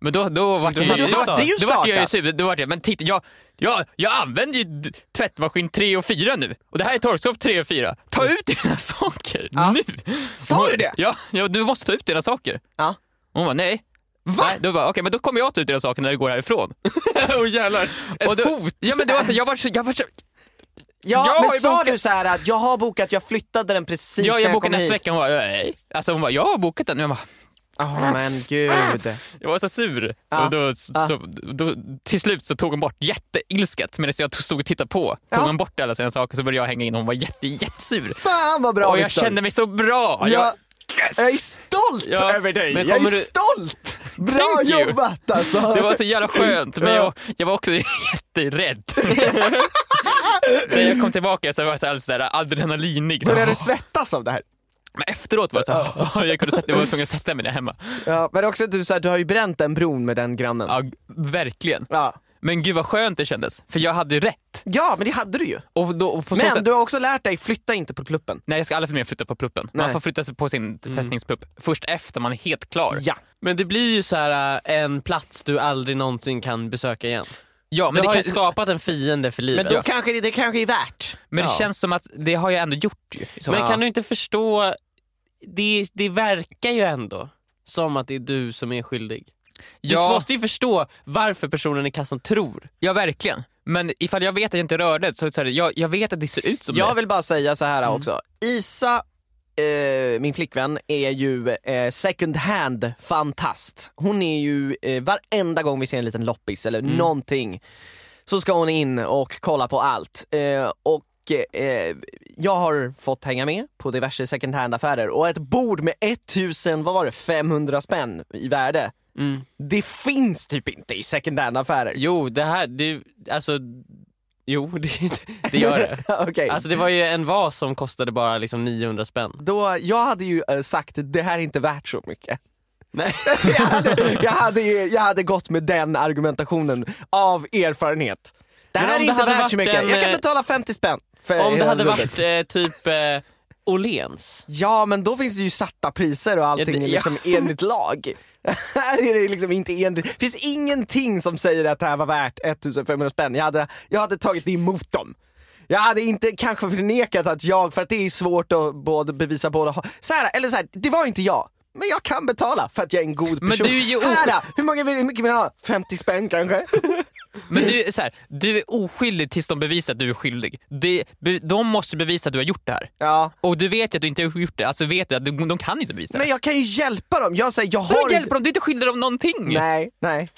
Speaker 2: Men då, då vart
Speaker 3: du
Speaker 2: jag
Speaker 3: hade
Speaker 2: ju...
Speaker 3: ju
Speaker 2: då vart-
Speaker 3: startat.
Speaker 2: Då vart jag ju
Speaker 4: startat.
Speaker 2: sur. Då vart jag, men titta, jag, jag, jag använder ju d- tvättmaskin 3 och 4 nu. Och det här är torkskåp 3 och 4. Ta ut dina saker nu!
Speaker 4: Sa du det?
Speaker 2: Ja, ja, du måste ta ut dina saker.
Speaker 4: Ja.
Speaker 2: Hon bara, nej. Va? Då bara, okej men då kommer jag ta ut dina saker när du går härifrån.
Speaker 3: Åh jävlar.
Speaker 2: och då, hot! Ja men det var så, jag var så, jag var så,
Speaker 4: Ja,
Speaker 2: Jag
Speaker 4: men
Speaker 2: har ju
Speaker 4: sa
Speaker 2: bokat-
Speaker 4: du så här att jag har bokat, jag flyttade den precis
Speaker 2: ja,
Speaker 4: när
Speaker 2: jag
Speaker 4: jag
Speaker 2: bokar
Speaker 4: kom hit?
Speaker 2: nästa vecka. Hon bara, nej. Alltså hon bara, jag har bokat den. Jag bara,
Speaker 4: Åh, men gud.
Speaker 2: Jag var så sur.
Speaker 4: Ja.
Speaker 2: Och då, så,
Speaker 4: Ja.
Speaker 2: då, till slut så tog hon bort jätteilsket medan jag stod och tittade på. Tog
Speaker 4: Ja.
Speaker 2: hon bort alla sina saker så började jag hänga in och hon var jätte, jättesur.
Speaker 4: Fan vad bra
Speaker 2: och jag
Speaker 4: Viktor.
Speaker 2: kände mig så bra.
Speaker 4: Ja.
Speaker 2: Jag,
Speaker 4: Jag är stolt
Speaker 2: Ja,
Speaker 4: över dig!
Speaker 2: men
Speaker 4: Jag är
Speaker 2: kommer du-
Speaker 4: stolt! Bra
Speaker 2: Thank you.
Speaker 4: jobbat alltså!
Speaker 2: Det var så jävla skönt, men jag, jag var också jätterädd. När jag kom tillbaka så var jag så alldeles sådär adrenalinig. Så,
Speaker 4: Började du svettas av det här?
Speaker 2: Men efteråt var jag såhär, jag kunde sätta, jag var tvungen att sätta mig ner hemma.
Speaker 4: Ja, men också att du, så här, du har ju bränt den bron med den grannen.
Speaker 2: Ja, verkligen.
Speaker 4: Ja,
Speaker 2: Men gud vad skönt det kändes, för jag hade ju rätt.
Speaker 4: ja men det hade du ju.
Speaker 2: Och då, och på så
Speaker 4: Men
Speaker 2: sätt,
Speaker 4: du har också lärt dig, flytta inte på pluppen.
Speaker 2: Nej, jag ska aldrig mer flytta på pluppen. Man
Speaker 4: Nej.
Speaker 2: får flytta sig på sin sättningsplupp först efter man är helt klar.
Speaker 4: Ja.
Speaker 3: Men det blir ju så här äh, en plats du aldrig någonsin kan besöka igen.
Speaker 2: Ja,
Speaker 3: du
Speaker 2: men det,
Speaker 3: har
Speaker 2: kan,
Speaker 3: ju skapat en fiende för livet.
Speaker 4: Men då kanske det, det kanske är värt.
Speaker 2: men det
Speaker 3: ja.
Speaker 2: känns som att det har jag ändå gjort ju. i så
Speaker 3: Men
Speaker 2: fall.
Speaker 3: kan du inte förstå, det, det verkar ju ändå som att det är du som är skyldig. Du
Speaker 2: Ja.
Speaker 3: måste ju förstå varför personen i kassan tror.
Speaker 2: Ja, verkligen. Men ifall jag vet att jag inte rörde det, så, så här, jag, jag vet att det ser ut som
Speaker 4: Jag
Speaker 2: det.
Speaker 4: vill bara säga så
Speaker 3: Mm.
Speaker 4: här också. Isa, eh, min flickvän, är ju eh, second hand fantast. Hon är ju, eh, varenda gång vi ser en liten loppis eller
Speaker 3: Mm.
Speaker 4: någonting så ska hon in och kolla på allt. Eh, och eh, jag har fått hänga med på diverse second hand affärer och ett bord med 1000, vad var det, 500 spänn i värde. Det finns typ inte i second hand affärer.
Speaker 3: Mm. Jo, det här, det, alltså, jo det, det gör det.
Speaker 4: Okej.
Speaker 3: Alltså det var ju en vas som kostade bara liksom 900 spänn.
Speaker 4: då, jag hade ju eh, sagt det här är inte värt så mycket.
Speaker 3: Nej.
Speaker 4: jag, hade, jag, hade, ju- jag hade gått med den argumentationen av erfarenhet. Det
Speaker 3: Men
Speaker 4: här
Speaker 3: om
Speaker 4: är
Speaker 3: det
Speaker 4: inte
Speaker 3: hade
Speaker 4: värt så
Speaker 3: varit
Speaker 4: mycket,
Speaker 3: en,
Speaker 4: jag kan
Speaker 3: eh,
Speaker 4: betala 50 spänn. För
Speaker 3: Om det
Speaker 4: hela
Speaker 3: hade
Speaker 4: rubbet.
Speaker 3: varit eh, typ eh, Åhléns.
Speaker 4: Ja men då finns det ju satta priser och allting
Speaker 3: Ja, det-
Speaker 4: är liksom enligt lag. här är det liksom inte enligt, det finns ingenting som säger att det här var värt 1500 spänn. Jag hade, jag hade tagit emot dem. Jag hade inte kanske förnekat att jag, för att det är svårt att både bevisa båda så här, eller så här, det var inte jag. Men jag kan betala för att jag är en god person.
Speaker 2: du är ju o-
Speaker 4: här, hur, många vill, hur mycket vill ni ha? 50 spänn kanske?
Speaker 2: Men du, är så här, du är oskyldig tills de bevisar att du är skyldig. De, be, de måste bevisa att du har gjort det här.
Speaker 4: Ja.
Speaker 2: Och du vet ju att du inte har gjort det, alltså vet du att du, de kan inte bevisa
Speaker 4: Men
Speaker 2: det.
Speaker 4: jag kan ju hjälpa dem. Jag säger, jag har
Speaker 2: Vadå
Speaker 4: inte-
Speaker 2: hjälper dem? Du är inte skyldig dem någonting!
Speaker 4: Nej, nej.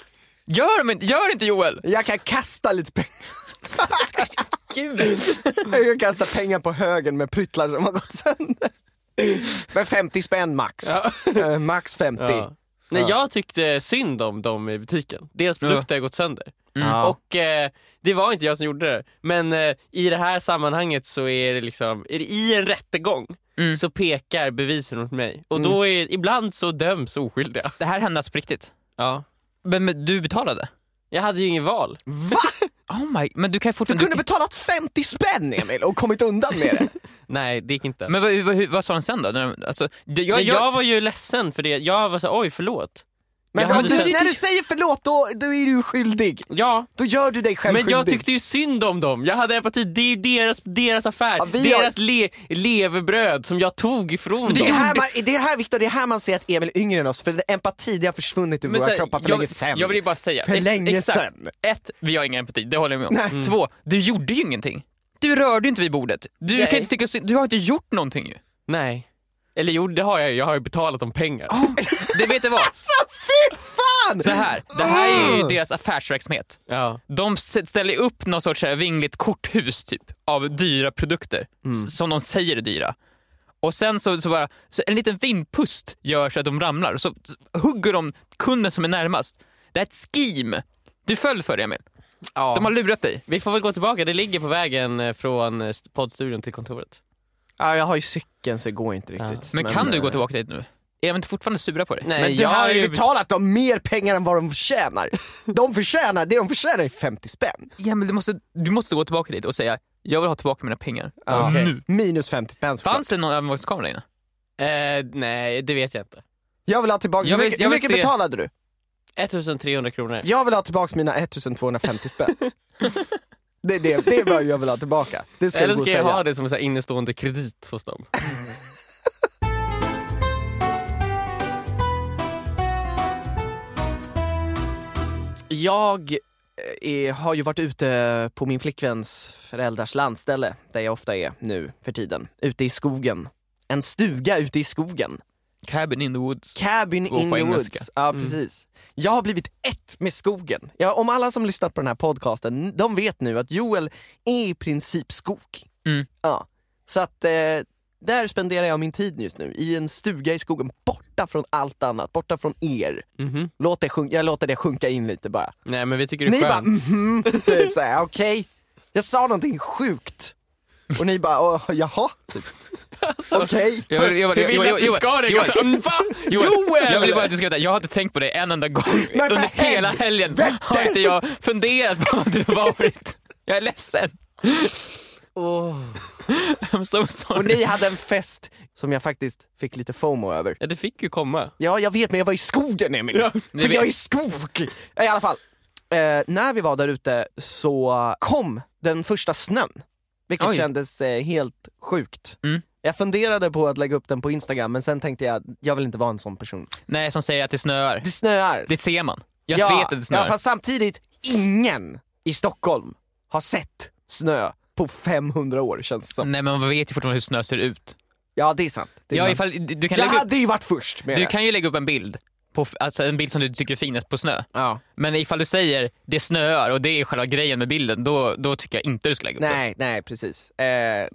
Speaker 2: Gör, men, gör inte Joel!
Speaker 4: Jag kan kasta lite pengar.
Speaker 2: Gud.
Speaker 4: Jag kan kasta pengar på högen med pryttlar som har gått sönder. Men 50 spänn max. Eh, max 50.
Speaker 3: Ja. Nej, jag tyckte synd om dem i butiken. Deras produkter har gått sönder.
Speaker 4: Ja.
Speaker 3: Och eh, det var inte jag som gjorde det. Men eh, i det här sammanhanget så är det liksom, är det i en rättegång
Speaker 2: Mm.
Speaker 3: så pekar bevisen mot mig. Och då är, ibland så döms oskyldiga.
Speaker 2: Det här hände alltså på riktigt.
Speaker 3: Ja.
Speaker 2: Men, men du betalade?
Speaker 3: Jag hade ju inget val.
Speaker 4: Va?
Speaker 2: Oh my, men du kan ju
Speaker 4: Du
Speaker 2: fortfarande...
Speaker 4: kunde betalat 50 spänn Emil och kommit undan med det.
Speaker 3: Nej, det gick inte. Men
Speaker 2: men vad, vad, hur- vad sa de sen då? När de- Alltså, det, jag,
Speaker 3: jag,
Speaker 2: jag,
Speaker 3: var ju ledsen för det. Jag var så oj förlåt.
Speaker 4: Men
Speaker 3: Jag
Speaker 4: om
Speaker 3: hade
Speaker 4: du,
Speaker 3: känt-
Speaker 4: när du säger förlåt då, då är du skyldig.
Speaker 3: Ja,
Speaker 4: Då gör du dig själv
Speaker 3: Men
Speaker 4: skyldig.
Speaker 3: jag tyckte ju synd om dem. Jag hade empati. Det är ju deras, deras affär,
Speaker 4: Ja, vi har-
Speaker 3: deras le, levebröd som jag tog ifrån
Speaker 4: det är,
Speaker 3: dem.
Speaker 4: här man, det är här Viktor, det är här man ser att Emil är yngre än oss, för empati det har försvunnit ur
Speaker 2: Men
Speaker 4: våra
Speaker 2: så här,
Speaker 4: kroppar för
Speaker 2: jag,
Speaker 4: länge sen.
Speaker 2: Jag vill ju bara säga.
Speaker 4: För
Speaker 2: ex-
Speaker 4: länge
Speaker 2: exakt.
Speaker 4: sen.
Speaker 2: Ett, vi har ingen empati, det håller jag med om. Mm.
Speaker 4: Nej.
Speaker 2: Två, du gjorde ju ingenting. Du rörde ju inte vid bordet. Du,
Speaker 3: Nej.
Speaker 2: kan inte tycka, synd- du har inte gjort någonting ju.
Speaker 3: Nej. Eller jo, det har jag ju. Jag har ju betalat dem pengar.
Speaker 4: Oh.
Speaker 2: Det vet du vad?
Speaker 4: Alltså fy fan!
Speaker 2: Så här, det här är ju
Speaker 4: Ah.
Speaker 2: deras affärsverksamhet.
Speaker 3: Ja.
Speaker 2: De s- ställer ju upp någon sorts så här vingligt korthus typ av dyra produkter
Speaker 3: Mm.
Speaker 2: s- som de säger är dyra. Och sen så, så bara, så en liten vindpust gör så att de ramlar och så så hugger de kunden som är närmast. Det här är ett skim. Du föll för det Emil.
Speaker 3: ja.
Speaker 2: De har lurat dig.
Speaker 3: Vi får väl gå tillbaka. Det ligger på vägen eh, från eh, st- poddstudion till kontoret.
Speaker 4: Ja, jag har ju cykeln så det går inte riktigt.
Speaker 2: Men kan du gå tillbaka dit nu? Är de inte fortfarande sura på dig?
Speaker 3: eh, Nej,
Speaker 4: Men du
Speaker 3: jag
Speaker 4: Eh, har
Speaker 3: har
Speaker 4: ju
Speaker 3: ju-
Speaker 4: betalat dem mer pengar än vad de förtjänar. De förtjänar, det de förtjänar är 50 spänn.
Speaker 2: Ja, men du, måste, du måste gå tillbaka dit och säga jag vill ha tillbaka mina pengar.
Speaker 3: Okej.
Speaker 2: Nu.
Speaker 4: Minus 50 spänn såklart.
Speaker 2: Fanns det någon övervakningskamera inne?
Speaker 3: Eh, nej, det vet jag inte.
Speaker 4: Jag vill ha tillbaka,
Speaker 2: Jag vill-
Speaker 4: hur mycket,
Speaker 2: jag
Speaker 4: hur
Speaker 2: vill
Speaker 4: mycket
Speaker 2: se-
Speaker 4: betalade du?
Speaker 3: 1300 kronor.
Speaker 4: Jag vill ha tillbaka mina 1250 spänn. det är det, det är vad jag vill ha tillbaka. Det ska
Speaker 3: Eller
Speaker 4: du gå
Speaker 3: ska
Speaker 4: och
Speaker 3: jag
Speaker 4: säga.
Speaker 3: ha det som en så här innestående kredit hos dem?
Speaker 4: Jag eh, är, har ju varit ute på min flickväns föräldrars landställe, där jag ofta är nu för tiden. Ute i skogen. En stuga ute i skogen.
Speaker 2: Cabin in the woods.
Speaker 4: Cabin
Speaker 2: Och
Speaker 4: in
Speaker 2: på
Speaker 4: the
Speaker 2: engelska.
Speaker 4: woods. Ja, precis. Jag har blivit ett med skogen. Ja, om alla som lyssnat på den här podcasten, de vet nu att Joel är i princip skog.
Speaker 2: Mm.
Speaker 4: Ja. Så att eh, Där spenderar jag min tid just nu, i en stuga i skogen, borta från allt annat, borta från er.
Speaker 3: Mhm.
Speaker 4: Låt det sjunka, jag låter det sjunka in lite bara.
Speaker 3: Nej men vi tycker det
Speaker 4: Ni
Speaker 3: är
Speaker 4: bara
Speaker 3: skönt.
Speaker 4: mhm, typ såhär, okej, jag sa någonting sjukt. Och ni bara, åh, jaha, typ. okej.
Speaker 2: Joel, Joel,
Speaker 3: Hur vill
Speaker 2: Joel,
Speaker 3: du att vi
Speaker 2: Joel,
Speaker 3: ska det?
Speaker 2: Joel,
Speaker 3: Mm, Va?
Speaker 2: Joel! Jag vill bara
Speaker 3: Joel!
Speaker 2: att du ska veta, jag har inte tänkt på dig en enda gång
Speaker 4: för
Speaker 2: under hela helgen. Har inte jag funderat på vad du har varit. Jag är ledsen.
Speaker 4: Åh.
Speaker 2: I'm so
Speaker 4: Och
Speaker 2: sorry.
Speaker 4: ni hade en fest som jag faktiskt fick lite fomo över.
Speaker 3: Ja, det fick ju komma.
Speaker 4: Ja, jag vet, men jag var i skogen Emil. För jag är i skog! I alla fall, eh, när vi var där ute så kom den första snön. Vilket
Speaker 2: Oj.
Speaker 4: kändes eh, helt sjukt.
Speaker 2: Mm.
Speaker 4: Jag funderade på att lägga upp den på Instagram, men sen tänkte jag, jag vill inte vara en sån person.
Speaker 2: Nej, som säger att det snöar.
Speaker 4: Det snöar.
Speaker 2: Det ser man. Jag
Speaker 4: ja,
Speaker 2: vet att det snöar.
Speaker 4: Ja, fast samtidigt, ingen i Stockholm har sett snö på 500 år känns det som.
Speaker 2: Nej, men man vet ju fortfarande hur snö ser ut.
Speaker 4: Ja, det är sant. Det är
Speaker 2: Mm. Ja,
Speaker 4: sant.
Speaker 2: ifall, du, du, kan
Speaker 4: Jag
Speaker 2: lägga upp,
Speaker 4: hade ju varit först med
Speaker 2: du
Speaker 4: det.
Speaker 2: kan ju lägga upp en bild, på, f- alltså en bild som du tycker är finast på snö.
Speaker 4: Ja.
Speaker 2: Men ifall du säger det snöar och det är själva grejen med bilden, då, då tycker jag inte du ska lägga upp
Speaker 4: Nej, nej precis. Eh,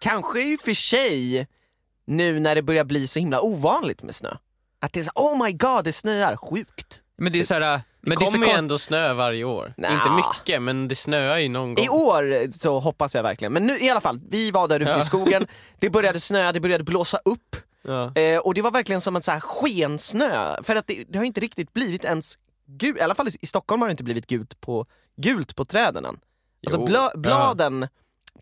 Speaker 4: kanske i och för sig nu när det börjar bli så himla ovanligt med snö. Att det är så oh my god det snöar, sjukt.
Speaker 2: det. Men det är så här, men det är så
Speaker 3: kommer ju
Speaker 2: konst...
Speaker 3: ändå snö varje år.
Speaker 4: Nja.
Speaker 3: Inte mycket men det snöar ju någon gång.
Speaker 4: I år så hoppas jag verkligen, men nu i alla fall, vi var där ute i skogen, det började snöa, det började blåsa upp
Speaker 3: Ja.
Speaker 4: eh, och det var verkligen som en så här skensnö för att det, det har inte riktigt blivit ens gult, i alla fall i i Stockholm har det inte blivit gult på, gult på träden än. Alltså
Speaker 3: Jo.
Speaker 4: blö, bladen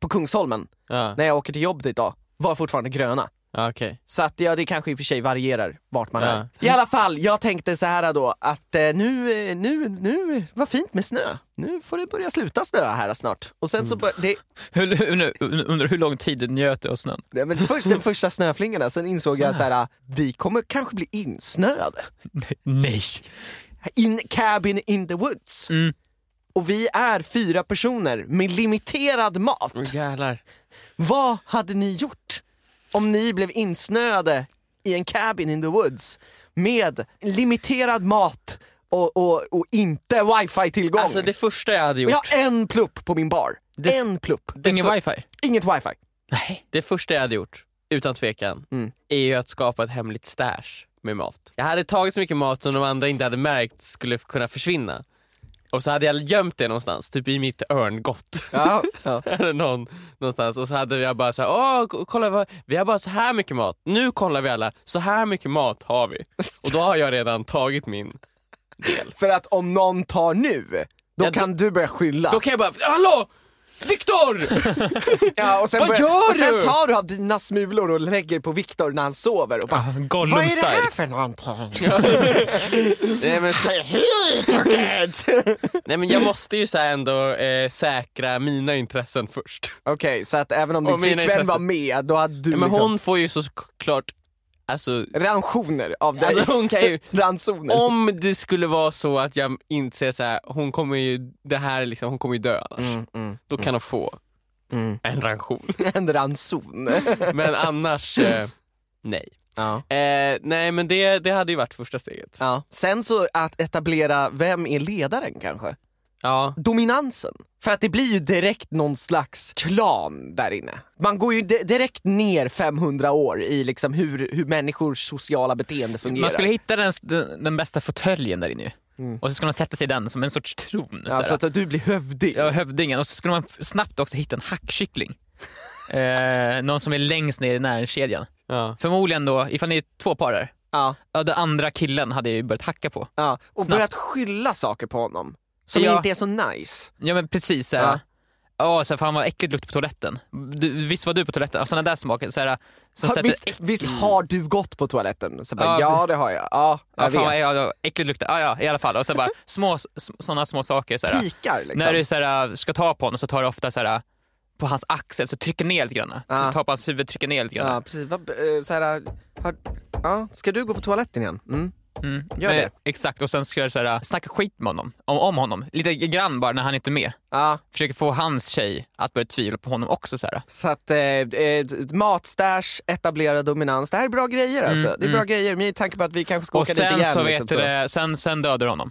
Speaker 4: på Kungsholmen,
Speaker 3: Ja.
Speaker 4: när jag åker till jobbet idag, var fortfarande gröna.
Speaker 3: Ja, okej.
Speaker 4: Så att ja, det kanske i och för sig varierar vart man
Speaker 3: Ja.
Speaker 4: är. I alla fall, jag tänkte så här då att eh, nu, eh, nu, nu, vad fint med snö. Nu får det börja sluta snöa här snart. Och sen så bör, det,
Speaker 2: Hur, hur, under hur lång tid njöt du av snön?
Speaker 4: nej, men först den första snöflingorna, sen insåg jag så här, ah, vi kommer kanske bli insnöade.
Speaker 2: Nej.
Speaker 4: In cabin in the woods.
Speaker 2: Mm.
Speaker 4: Och vi är fyra personer med limiterad mat.
Speaker 3: Åh, jävlar.
Speaker 4: Vad hade ni gjort om ni blev insnöade i en cabin in the woods med limiterad mat och, och, och inte wifi-tillgång?
Speaker 3: Alltså det första jag hade
Speaker 4: och
Speaker 3: gjort,
Speaker 4: jag har en plupp på min bar. en plupp.
Speaker 2: Ingen wifi?
Speaker 4: Inget wifi.
Speaker 2: Nej.
Speaker 3: det första jag hade gjort, utan tvekan,
Speaker 4: Mm.
Speaker 3: är ju att skapa ett hemligt stash med mat. Jag hade tagit så mycket mat som de andra inte hade märkt skulle kunna försvinna. Och så hade jag gömt det någonstans, typ i mitt örngott.
Speaker 4: Ja, ja.
Speaker 3: Eller någon, någonstans. Och så hade jag bara så här, åh k- kolla vad, vi har bara så här mycket mat. Nu kollar vi alla, så här mycket mat har vi. Och då har jag redan tagit min.
Speaker 4: För att om någon tar nu, då
Speaker 3: Ja, då-
Speaker 4: kan du börja skylla.
Speaker 3: Då kan jag bara, hallå! Viktor!
Speaker 4: ja, och sen
Speaker 3: Vad
Speaker 4: börjar-
Speaker 3: gör
Speaker 4: Och sen
Speaker 3: du?
Speaker 4: tar du av dina smulor och lägger på Viktor när han sover och bara
Speaker 3: Ah,
Speaker 4: Vad är det här
Speaker 2: Gollum-style.
Speaker 4: för någonting?
Speaker 3: Nej men, så-
Speaker 4: Okej,
Speaker 3: nej men jag måste ju så här ändå eh, säkra mina intressen först.
Speaker 4: så att även om
Speaker 3: Och
Speaker 4: din
Speaker 3: mina
Speaker 4: flickvän
Speaker 3: intressen.
Speaker 4: var med, då hade du
Speaker 3: Men
Speaker 4: liksom...
Speaker 3: hon får ju såklart, alltså,
Speaker 4: ransoner av dig.
Speaker 3: alltså hon kan ju
Speaker 4: ransoner.
Speaker 3: om det skulle vara så att jag inser så här, hon kommer ju, det här är liksom, hon kommer ju dö annars.
Speaker 4: Mm, mm,
Speaker 3: Då kan hon få
Speaker 4: mm.
Speaker 3: en ranson.
Speaker 4: En ranson.
Speaker 3: Men annars, eh, nej.
Speaker 4: ja.
Speaker 3: Eh, nej men det, det hade ju varit första steget.
Speaker 4: Ja. Sen så att etablera, vem är ledaren kanske?
Speaker 3: Ja.
Speaker 4: Dominansen. För att det blir ju direkt någon slags klan där inne. Man går ju di- direkt ner 500 år i liksom hur, hur människors sociala beteende fungerar.
Speaker 2: Man skulle hitta den, den, den bästa fåtöljen där inne ju.
Speaker 3: Mm.
Speaker 2: Och så skulle man sätta sig i den som en sorts tron.
Speaker 4: ja,
Speaker 2: så
Speaker 4: så
Speaker 2: här.
Speaker 4: att du blir hövding.
Speaker 2: Ja, hövdingen. Och så skulle man snabbt också hitta en hackkyckling. eh, någon som är längst ner i näringskedjan.
Speaker 3: ja.
Speaker 2: Förmodligen då, ifall ni är två par där,
Speaker 4: Ja,
Speaker 2: ja, den andra killen hade jag ju börjat hacka på.
Speaker 4: ja. Och
Speaker 2: Snabbt.
Speaker 4: börjat skylla saker på honom. Som
Speaker 2: Ja.
Speaker 4: inte är så nice.
Speaker 2: Ja men precis. Såhär,
Speaker 4: Ja.
Speaker 2: ja. Ja, såhär, fan vad äckligt lukt på toaletten. Du, visst var du på toaletten? Och såna där smaker. Såhär, som
Speaker 4: Ha,
Speaker 2: sätter
Speaker 4: visst,
Speaker 2: äck-
Speaker 4: visst har du gått på toaletten? Så
Speaker 2: Ja,
Speaker 4: bara, ja det har jag. Ja, jag
Speaker 2: ja, fan vad
Speaker 4: vet.
Speaker 2: ja, ja, äckligt luktar. Ja, ja, i alla fall. Och så bara små, s- såna små saker. Såhär.
Speaker 4: Pikar liksom.
Speaker 2: När du såhär, ska ta på honom så tar du ofta såhär, på hans axel, så trycker ner lite grann.
Speaker 4: Ja.
Speaker 2: Så tar på hans huvud, trycker ner lite grann.
Speaker 4: Ja, precis. Vad, eh, så här, har, ja, ska du gå på toaletten igen? Mm.
Speaker 2: Mm.
Speaker 4: Gör
Speaker 2: Men-
Speaker 4: det.
Speaker 2: Exakt, och sen ska jag såhär, snacka skit med honom, om, om honom. Lite grann bara när han inte är med.
Speaker 4: Ja,
Speaker 2: Försöker få hans tjej att börja tvivla på honom också. Såhär.
Speaker 4: så att eh, eh, matstash, etablera dominans. Det här är bra grejer alltså. Det är bra grejer med tanke på att vi kanske ska
Speaker 2: Mm, Och
Speaker 4: åka dit
Speaker 2: sen
Speaker 4: igen.
Speaker 2: så vet
Speaker 4: liksom,
Speaker 2: du det, sen, sen dödar du honom.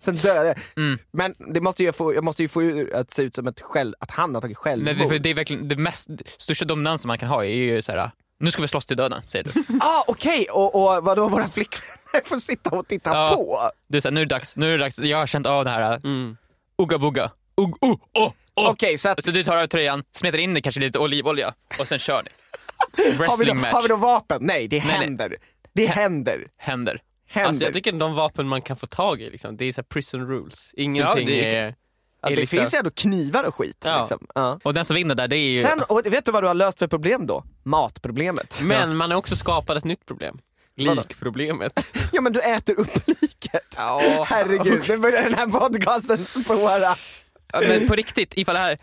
Speaker 4: sen dör det.
Speaker 2: Mm.
Speaker 4: Men det måste ju få, jag måste ju få ur att se ut som ett själv, att han har tagit
Speaker 2: Men det,
Speaker 4: självmord.
Speaker 2: för det är verkligen det mest, största dominansen man kan ha är ju så här. nu ska vi slåss till döden, säger du.
Speaker 4: Ah, okej! Och, och vadå, våra flickvänner får sitta och titta
Speaker 2: Ja.
Speaker 4: på?
Speaker 2: Du säger nu är det dags, nu är det dags, jag har känt av det här, äh,
Speaker 3: Mm.
Speaker 2: ugga bugga, ugg, oh, oh, oh.
Speaker 4: Okej, så att,
Speaker 2: Så du tar av tröjan, smetar in det kanske lite olivolja och sen kör ni.
Speaker 4: har, vi då,
Speaker 2: Wrestling match Alltså,
Speaker 4: har vi då vapen? Nej, det
Speaker 2: nej.
Speaker 4: händer. Det händer.
Speaker 2: händer.
Speaker 4: händer.
Speaker 3: Alltså jag tycker de vapen man kan få tag i, liksom, det är så här prison rules. Ingenting
Speaker 2: Ja, det
Speaker 3: är...
Speaker 2: är-
Speaker 3: är
Speaker 4: att det
Speaker 3: liksom-
Speaker 4: finns ju ändå knivar och skit.
Speaker 3: Ja.
Speaker 4: Liksom. Ja.
Speaker 2: Och den som vinner där det är ju...
Speaker 4: Sen, och vet du vad du har löst för problem då? Matproblemet.
Speaker 3: Men man har också skapat ett nytt problem.
Speaker 4: Vadå?
Speaker 3: Likproblemet.
Speaker 4: Ja men du äter upp liket.
Speaker 3: Ja.
Speaker 4: Herregud, nu börjar den här podcasten spåra.
Speaker 2: Ja, Men på riktigt, ifall det här...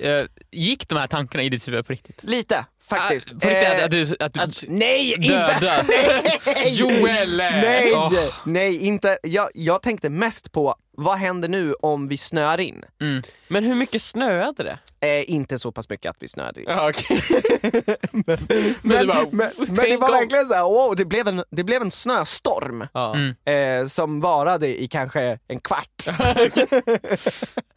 Speaker 2: eh, gick de här tankarna i ditt huvud på riktigt?
Speaker 4: Lite, faktiskt.
Speaker 2: Ah, på riktigt
Speaker 4: Eh,
Speaker 2: att, att du... Att du
Speaker 3: att-
Speaker 4: Nej,
Speaker 2: dö,
Speaker 4: inte!
Speaker 2: dö.
Speaker 4: Nej!
Speaker 3: Joel!
Speaker 4: Nej,
Speaker 2: eh, Åh.
Speaker 4: nej inte. Jag, jag tänkte mest på, vad händer nu om vi snöar in?
Speaker 3: Men hur mycket snöade det?
Speaker 4: Eh, inte så pass mycket att vi snöade in.
Speaker 3: Ja, okej.
Speaker 4: Men,
Speaker 3: det var-
Speaker 4: men, men det
Speaker 3: tänk
Speaker 4: var
Speaker 3: om-
Speaker 4: verkligen så här, wow, det blev en, det blev en snöstorm
Speaker 3: Ja.
Speaker 2: Mm.
Speaker 4: eh, som varade i kanske en kvart.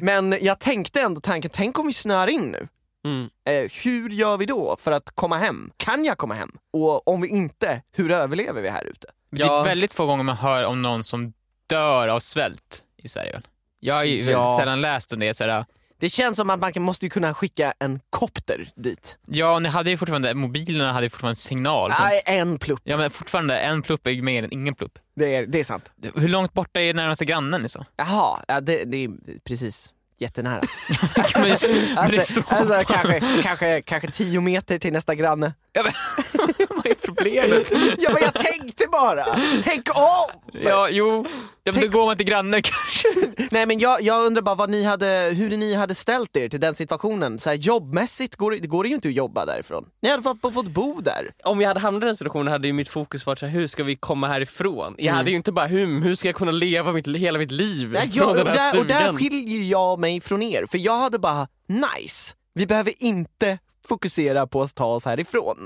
Speaker 4: men jag tänkte ändå tanken, tänk om vi snöar in nu?
Speaker 3: Mm.
Speaker 4: Eh, hur gör vi då för att komma hem? Kan jag komma hem? Och om vi inte, hur överlever vi här ute?
Speaker 2: Det
Speaker 3: Ja.
Speaker 2: är väldigt få gånger man hör om någon som dör av svält i Sverige väl? Jag har ju väldigt
Speaker 4: Ja.
Speaker 2: sällan läst om det. Såhär,
Speaker 4: Det känns som att man kan- måste ju kunna skicka en kopter dit.
Speaker 2: ja, och ni hade ju fortfarande, mobilerna hade ju fortfarande signal. och sånt.
Speaker 4: Nej, en plupp.
Speaker 2: Ja men fortfarande, en plupp är ju mer än ingen plupp.
Speaker 4: Det är, det är sant.
Speaker 2: Hur långt borta är närmaste grannen liksom?
Speaker 4: Jaha, ja, det, det är precis. Jättenära.
Speaker 2: Men det är så- men det är
Speaker 4: Alltså,
Speaker 2: så...
Speaker 4: alltså kanske, kanske, kanske tio meter till nästa granne.
Speaker 2: Ja, men, vad är problemet?
Speaker 4: Ja men jag tänkte bara! Tänk om!
Speaker 2: Ja, jo. Ja, men då går man till grannen kanske.
Speaker 4: Nej men jag, jag undrar bara vad ni hade, hur ni hade ställt er till den situationen. Så här, jobbmässigt går, det- går det ju inte att jobba därifrån. Ni hade fått, fått bo där.
Speaker 3: Om jag hade hamnat i den situationen hade ju mitt fokus varit så här, hur ska vi komma härifrån? Jag hade ju inte bara, hur, hur ska jag kunna leva mitt, hela mitt liv
Speaker 4: Mm. Nej,
Speaker 3: från
Speaker 4: jag, och,
Speaker 3: den här
Speaker 4: där, och där
Speaker 3: stugan?
Speaker 4: skiljer jag mig från er, för jag hade bara nice, vi behöver inte fokusera på att ta oss härifrån.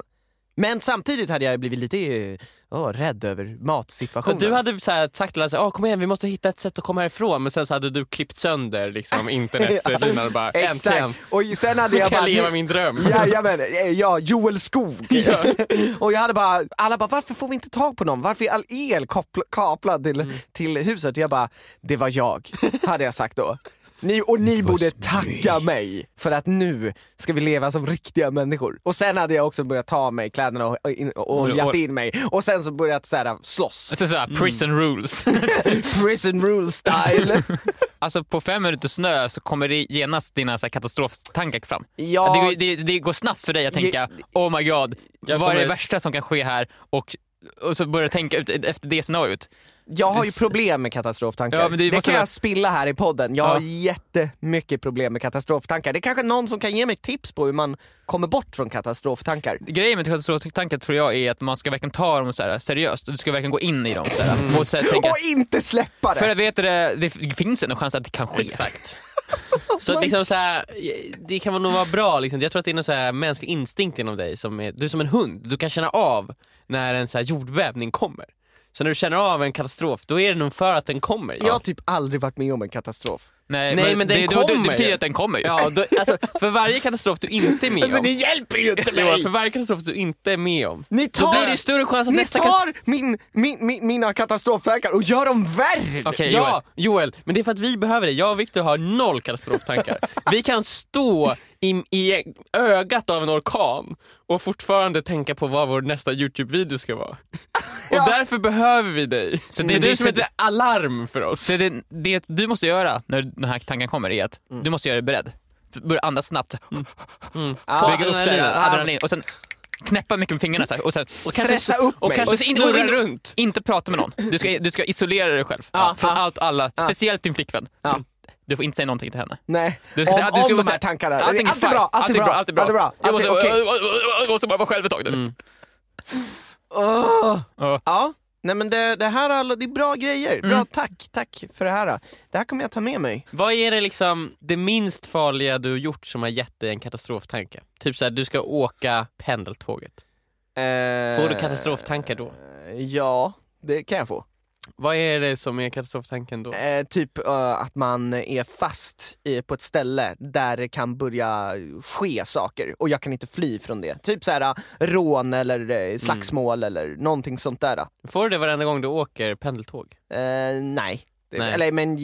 Speaker 4: Men samtidigt hade jag blivit lite oh, rädd över
Speaker 3: Ja,
Speaker 4: matsituationen.
Speaker 3: du hade så här sagt till alla, så här, "Ah, kom igen vi måste hitta ett sätt att komma härifrån men sen så hade du klippt sönder liksom, internetlinan och bara äntligen
Speaker 4: Exakt, och sen hade
Speaker 3: kan
Speaker 4: jag bara...
Speaker 3: jag leva min dröm.
Speaker 4: Jajamän, eh, ja, Joel Skog. och jag hade bara, alla bara, varför får vi inte tag på någon? Varför är all el koppl- kaplad till,
Speaker 3: Mm.
Speaker 4: till huset? Och jag bara, det var jag, hade jag sagt då. Ni, och ni borde tacka mig för att nu ska vi leva som riktiga människor. Och sen hade jag också börjat ta mig kläderna och, och, in- och oljat in mig och sen så börjat så här, slåss.
Speaker 2: Alltså såhär, prison rules.
Speaker 4: Mm. Prison rule style.
Speaker 2: Alltså på fem minuter snö så kommer det genast dina så här katastroftankar fram.
Speaker 4: Ja.
Speaker 2: Det, går- det, det går snabbt för dig att tänka oh my god,
Speaker 3: Jag
Speaker 2: vad är det
Speaker 3: kommer-
Speaker 2: värsta som kan ske här? Och, och så börjar du tänka ut, efter det scenariot.
Speaker 4: Jag har ju problem med katastroftankar.
Speaker 2: Ja, men det
Speaker 4: det
Speaker 2: måste
Speaker 4: kan
Speaker 2: vara-
Speaker 4: jag spilla här i podden. Jag har
Speaker 2: Ja.
Speaker 4: jättemycket problem med katastroftankar. Det är kanske någon som kan ge mig tips på hur man kommer bort från katastroftankar.
Speaker 2: Grejen med katastroftankar tror jag är att man ska verkligen ta dem så här, seriöst och du ska verkligen gå in i dem. Så här,
Speaker 3: Mm.
Speaker 2: och så här, tänka,
Speaker 4: Och inte släppa
Speaker 2: för
Speaker 4: det!
Speaker 2: att veta det, det finns ju en chans att det kan ske.
Speaker 3: Exakt.
Speaker 4: Oh
Speaker 3: Så
Speaker 4: my-
Speaker 3: liksom så här, det kan nog vara bra, liksom. jag tror att det är någon så här mänsklig instinkt inom dig, som är, du är som en hund, du kan känna av när en så här jordbävning kommer. Så när du känner av en katastrof, då är det nog för att den kommer.
Speaker 4: Jag har typ aldrig varit med om en katastrof.
Speaker 2: Nej,
Speaker 3: Nej, men den
Speaker 2: det, det,
Speaker 3: kommer
Speaker 2: det betyder
Speaker 3: ju.
Speaker 2: att den kommer ju.
Speaker 3: Ja, då, alltså, för varje katastrof du inte är med
Speaker 4: Alltså
Speaker 3: om,
Speaker 4: det hjälper ju inte
Speaker 3: Johan,
Speaker 4: mig!
Speaker 3: för varje katastrof du inte är med om,
Speaker 4: Ni
Speaker 3: då
Speaker 4: tar-
Speaker 3: blir det ju större chans att
Speaker 4: Ni
Speaker 3: nästa katastrof...
Speaker 4: tar min, min, min, mina katastroftankar och gör dem värre!
Speaker 2: Okej
Speaker 3: Ja, Joel, men det är för att vi behöver det. Jag och Victor har noll katastroftankar. vi kan stå i, i ögat av en orkan och fortfarande tänka på vad vår nästa YouTube-video ska vara.
Speaker 4: Ja.
Speaker 3: Och därför behöver vi dig. Så det är du som
Speaker 2: så-
Speaker 3: är ett alarm för oss.
Speaker 2: Så det, det du måste göra när den här tanken kommer är att
Speaker 4: Mm.
Speaker 2: du måste göra dig beredd. Börja andas snabbt,
Speaker 4: Ja,
Speaker 2: bygga upp så
Speaker 3: Mm. adrenalin.
Speaker 2: här, adrenalin och sen knäppa mycket med fingrarna så här, och sen och
Speaker 4: kanske- Stressa upp
Speaker 3: och
Speaker 4: mig.
Speaker 3: kanske
Speaker 2: Och så in- och in-
Speaker 3: snurra runt.
Speaker 2: inte prata med någon. Du ska, du ska isolera dig själv från allt och alla, speciellt din flickvän.
Speaker 4: Ja.
Speaker 2: Du får inte säga någonting till henne.
Speaker 4: Nej,
Speaker 2: Du
Speaker 4: om,
Speaker 2: säga- du
Speaker 4: om
Speaker 2: bara
Speaker 4: de
Speaker 2: säga,
Speaker 4: här tankarna.
Speaker 2: Allting är
Speaker 4: Allt är
Speaker 2: fine.
Speaker 4: bra, allt är bra,
Speaker 2: allt är bra. Jag
Speaker 4: allt är-
Speaker 2: måste,
Speaker 4: okej. Mm.
Speaker 2: jag måste bara vara själv ett tag nu.
Speaker 4: Åh.
Speaker 2: Ja.
Speaker 4: Ja, nej men det, det här är alla, det är bra grejer.
Speaker 3: Mm.
Speaker 4: Bra, tack, tack för det här. då. Det här kommer jag ta med mig.
Speaker 3: Vad är det liksom det minst farliga du har gjort som har gett dig en katastroftanke? Typ såhär, du ska åka pendeltåget. Får du katastroftankar då?
Speaker 4: Ja, Eh, det kan jag få.
Speaker 3: Vad är det som är katastroftanken då?
Speaker 4: Eh, typ eh, att man är fast i, på ett ställe där det kan börja ske saker och jag kan inte fly från det. Typ så här eh, rån eller
Speaker 3: Mm.
Speaker 4: eh, slagsmål eller någonting sånt där.
Speaker 3: Får du det varenda gång du åker pendeltåg?
Speaker 4: Eh, nej. Det-
Speaker 3: Nej.
Speaker 4: Eller men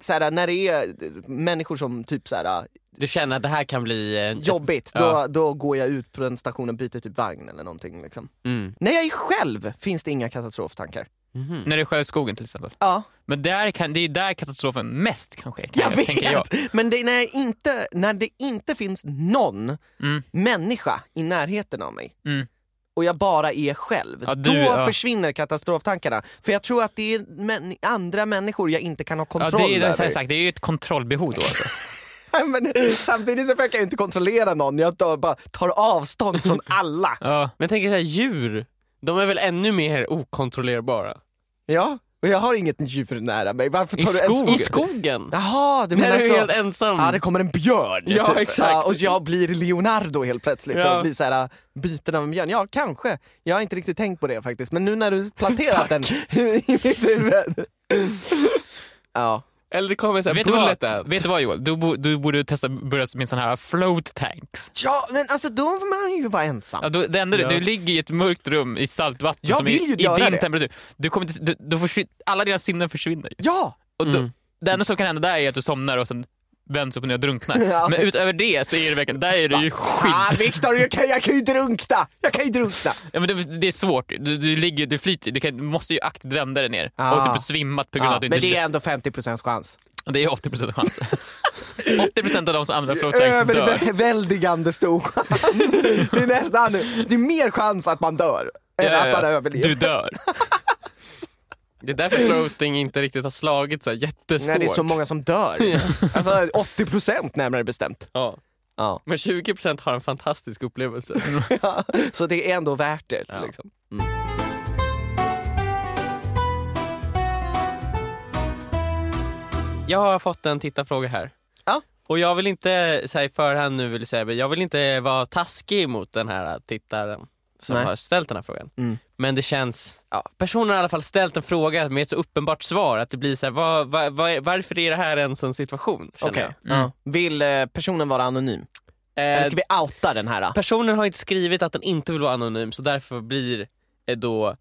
Speaker 4: så här, när det är människor som typ så här,
Speaker 3: Du känner att det här kan bli... eh,
Speaker 4: jobbigt,
Speaker 3: Ja.
Speaker 4: då, då går jag ut på den stationen och byter typ vagn eller någonting. Liksom.
Speaker 3: Mm.
Speaker 4: När jag är själv finns det inga katastroftankar.
Speaker 3: Mhm.
Speaker 2: När du är själv i skogen till exempel.
Speaker 4: Ja,
Speaker 2: Men där kan, det är där katastrofen mest kan ske, kan
Speaker 4: jag vet!
Speaker 2: tänker jag.
Speaker 4: Men det är när, jag inte, när det inte finns någon
Speaker 2: Mm.
Speaker 4: människa i närheten av mig
Speaker 2: Mm.
Speaker 4: och jag bara är själv,
Speaker 2: Ja, du-
Speaker 4: då
Speaker 2: ja.
Speaker 4: försvinner katastroftankarna. För jag tror att det är män, andra människor jag inte kan ha
Speaker 2: Ja,
Speaker 4: kontroll
Speaker 2: det, är, det, är,
Speaker 4: över.
Speaker 2: som sagt, det är ju ett kontrollbehov då. Alltså.
Speaker 4: Nej, Men, samtidigt så försöker jag inte kontrollera någon, jag tar, bara tar avstånd från alla.
Speaker 2: Ja.
Speaker 3: Men jag tänker så här, djur, de är väl ännu mer okontrollerbara?
Speaker 4: Ja, och jag har inget djur nära mig. Varför tar
Speaker 2: I
Speaker 4: du ens
Speaker 2: skog.
Speaker 3: I
Speaker 4: ord?
Speaker 3: skogen!
Speaker 4: Jaha, du
Speaker 3: När
Speaker 4: menar
Speaker 3: du är
Speaker 4: så.
Speaker 3: helt ensam.
Speaker 4: alltså- Ja, det kommer en björn. Typ.
Speaker 3: Ja, exakt.
Speaker 4: och jag blir Leonardo helt plötsligt
Speaker 3: Ja.
Speaker 4: och blir så här, äh, biten av en björn. Ja, kanske. Jag har inte riktigt tänkt på det faktiskt. Men nu när du planterat den i mitt huvud. ja.
Speaker 3: Eller det kommer såhär,
Speaker 2: Vet, du vad,
Speaker 3: bullet out.
Speaker 2: vet du vad Joel? Du, bo, du borde testa börja med sån här float tanks.
Speaker 4: ja, men alltså då får man ju vara ensam.
Speaker 2: Ja, då, det enda du,
Speaker 3: Ja.
Speaker 2: du ligger i ett mörkt rum i saltvatten
Speaker 4: Jag
Speaker 2: som
Speaker 4: vill
Speaker 2: är
Speaker 4: ju
Speaker 2: i
Speaker 4: göra
Speaker 2: din
Speaker 4: det.
Speaker 2: temperatur. Du kommer inte, du, du försvin- alla dina sinnen försvinner ju.
Speaker 4: Ja!
Speaker 2: Och då,
Speaker 3: Mm.
Speaker 2: Det enda som kan hända där är att du somnar och sen vänds upp och ner och drunknar.
Speaker 4: Ja.
Speaker 2: Men utöver det så är det verkligen, där är du ju
Speaker 4: Ah,
Speaker 2: skydd.
Speaker 4: Viktor, jag kan, jag kan ju drunkna! Jag kan ju drunkna!
Speaker 2: Ja, men det, det är svårt, du, du, ligger, du flyter, du, kan, du måste ju aktivt vända dig ner
Speaker 4: Ah.
Speaker 2: och typ svimmat på grund av
Speaker 4: Ja,
Speaker 2: att du
Speaker 4: men
Speaker 2: inte
Speaker 4: det är ändå 50% chans.
Speaker 2: Och Det är 80% chans. 80% av de som använder float tanks dör.
Speaker 4: Överväldigande stor chans. Det är nästan, det är mer chans att man dör än
Speaker 2: Ja,
Speaker 4: att man
Speaker 2: ja, ja.
Speaker 4: överlever.
Speaker 2: Eh, Du dör.
Speaker 3: Det är därför floating inte riktigt har slagit såhär jättesvårt.
Speaker 4: Nej, det är så många som dör. Alltså 80 procent närmare bestämt.
Speaker 3: Ja.
Speaker 4: Ja.
Speaker 3: Men 20% har en fantastisk upplevelse.
Speaker 4: Så det är ändå värt det.
Speaker 3: Ja.
Speaker 4: Liksom.
Speaker 3: Jag har fått en tittarfråga här.
Speaker 4: Ja.
Speaker 3: Och jag vill inte säga i förhand nu, vill säga, men jag vill inte vara taskig mot den här tittaren som
Speaker 4: Nej.
Speaker 3: har ställt den här frågan.
Speaker 4: Mm.
Speaker 3: Men det känns, ja, personen har i alla fall ställt en fråga med ett så uppenbart svar att det blir så här, vad, vad, vad, är- varför är det här ens en situation? känner
Speaker 4: Okej.
Speaker 3: jag.
Speaker 2: Mm.
Speaker 4: Vill eh, personen vara anonym? Eller
Speaker 3: Eh,
Speaker 4: ska vi outa den här? då?
Speaker 3: Personen har inte skrivit att den inte vill vara anonym så därför blir eh, då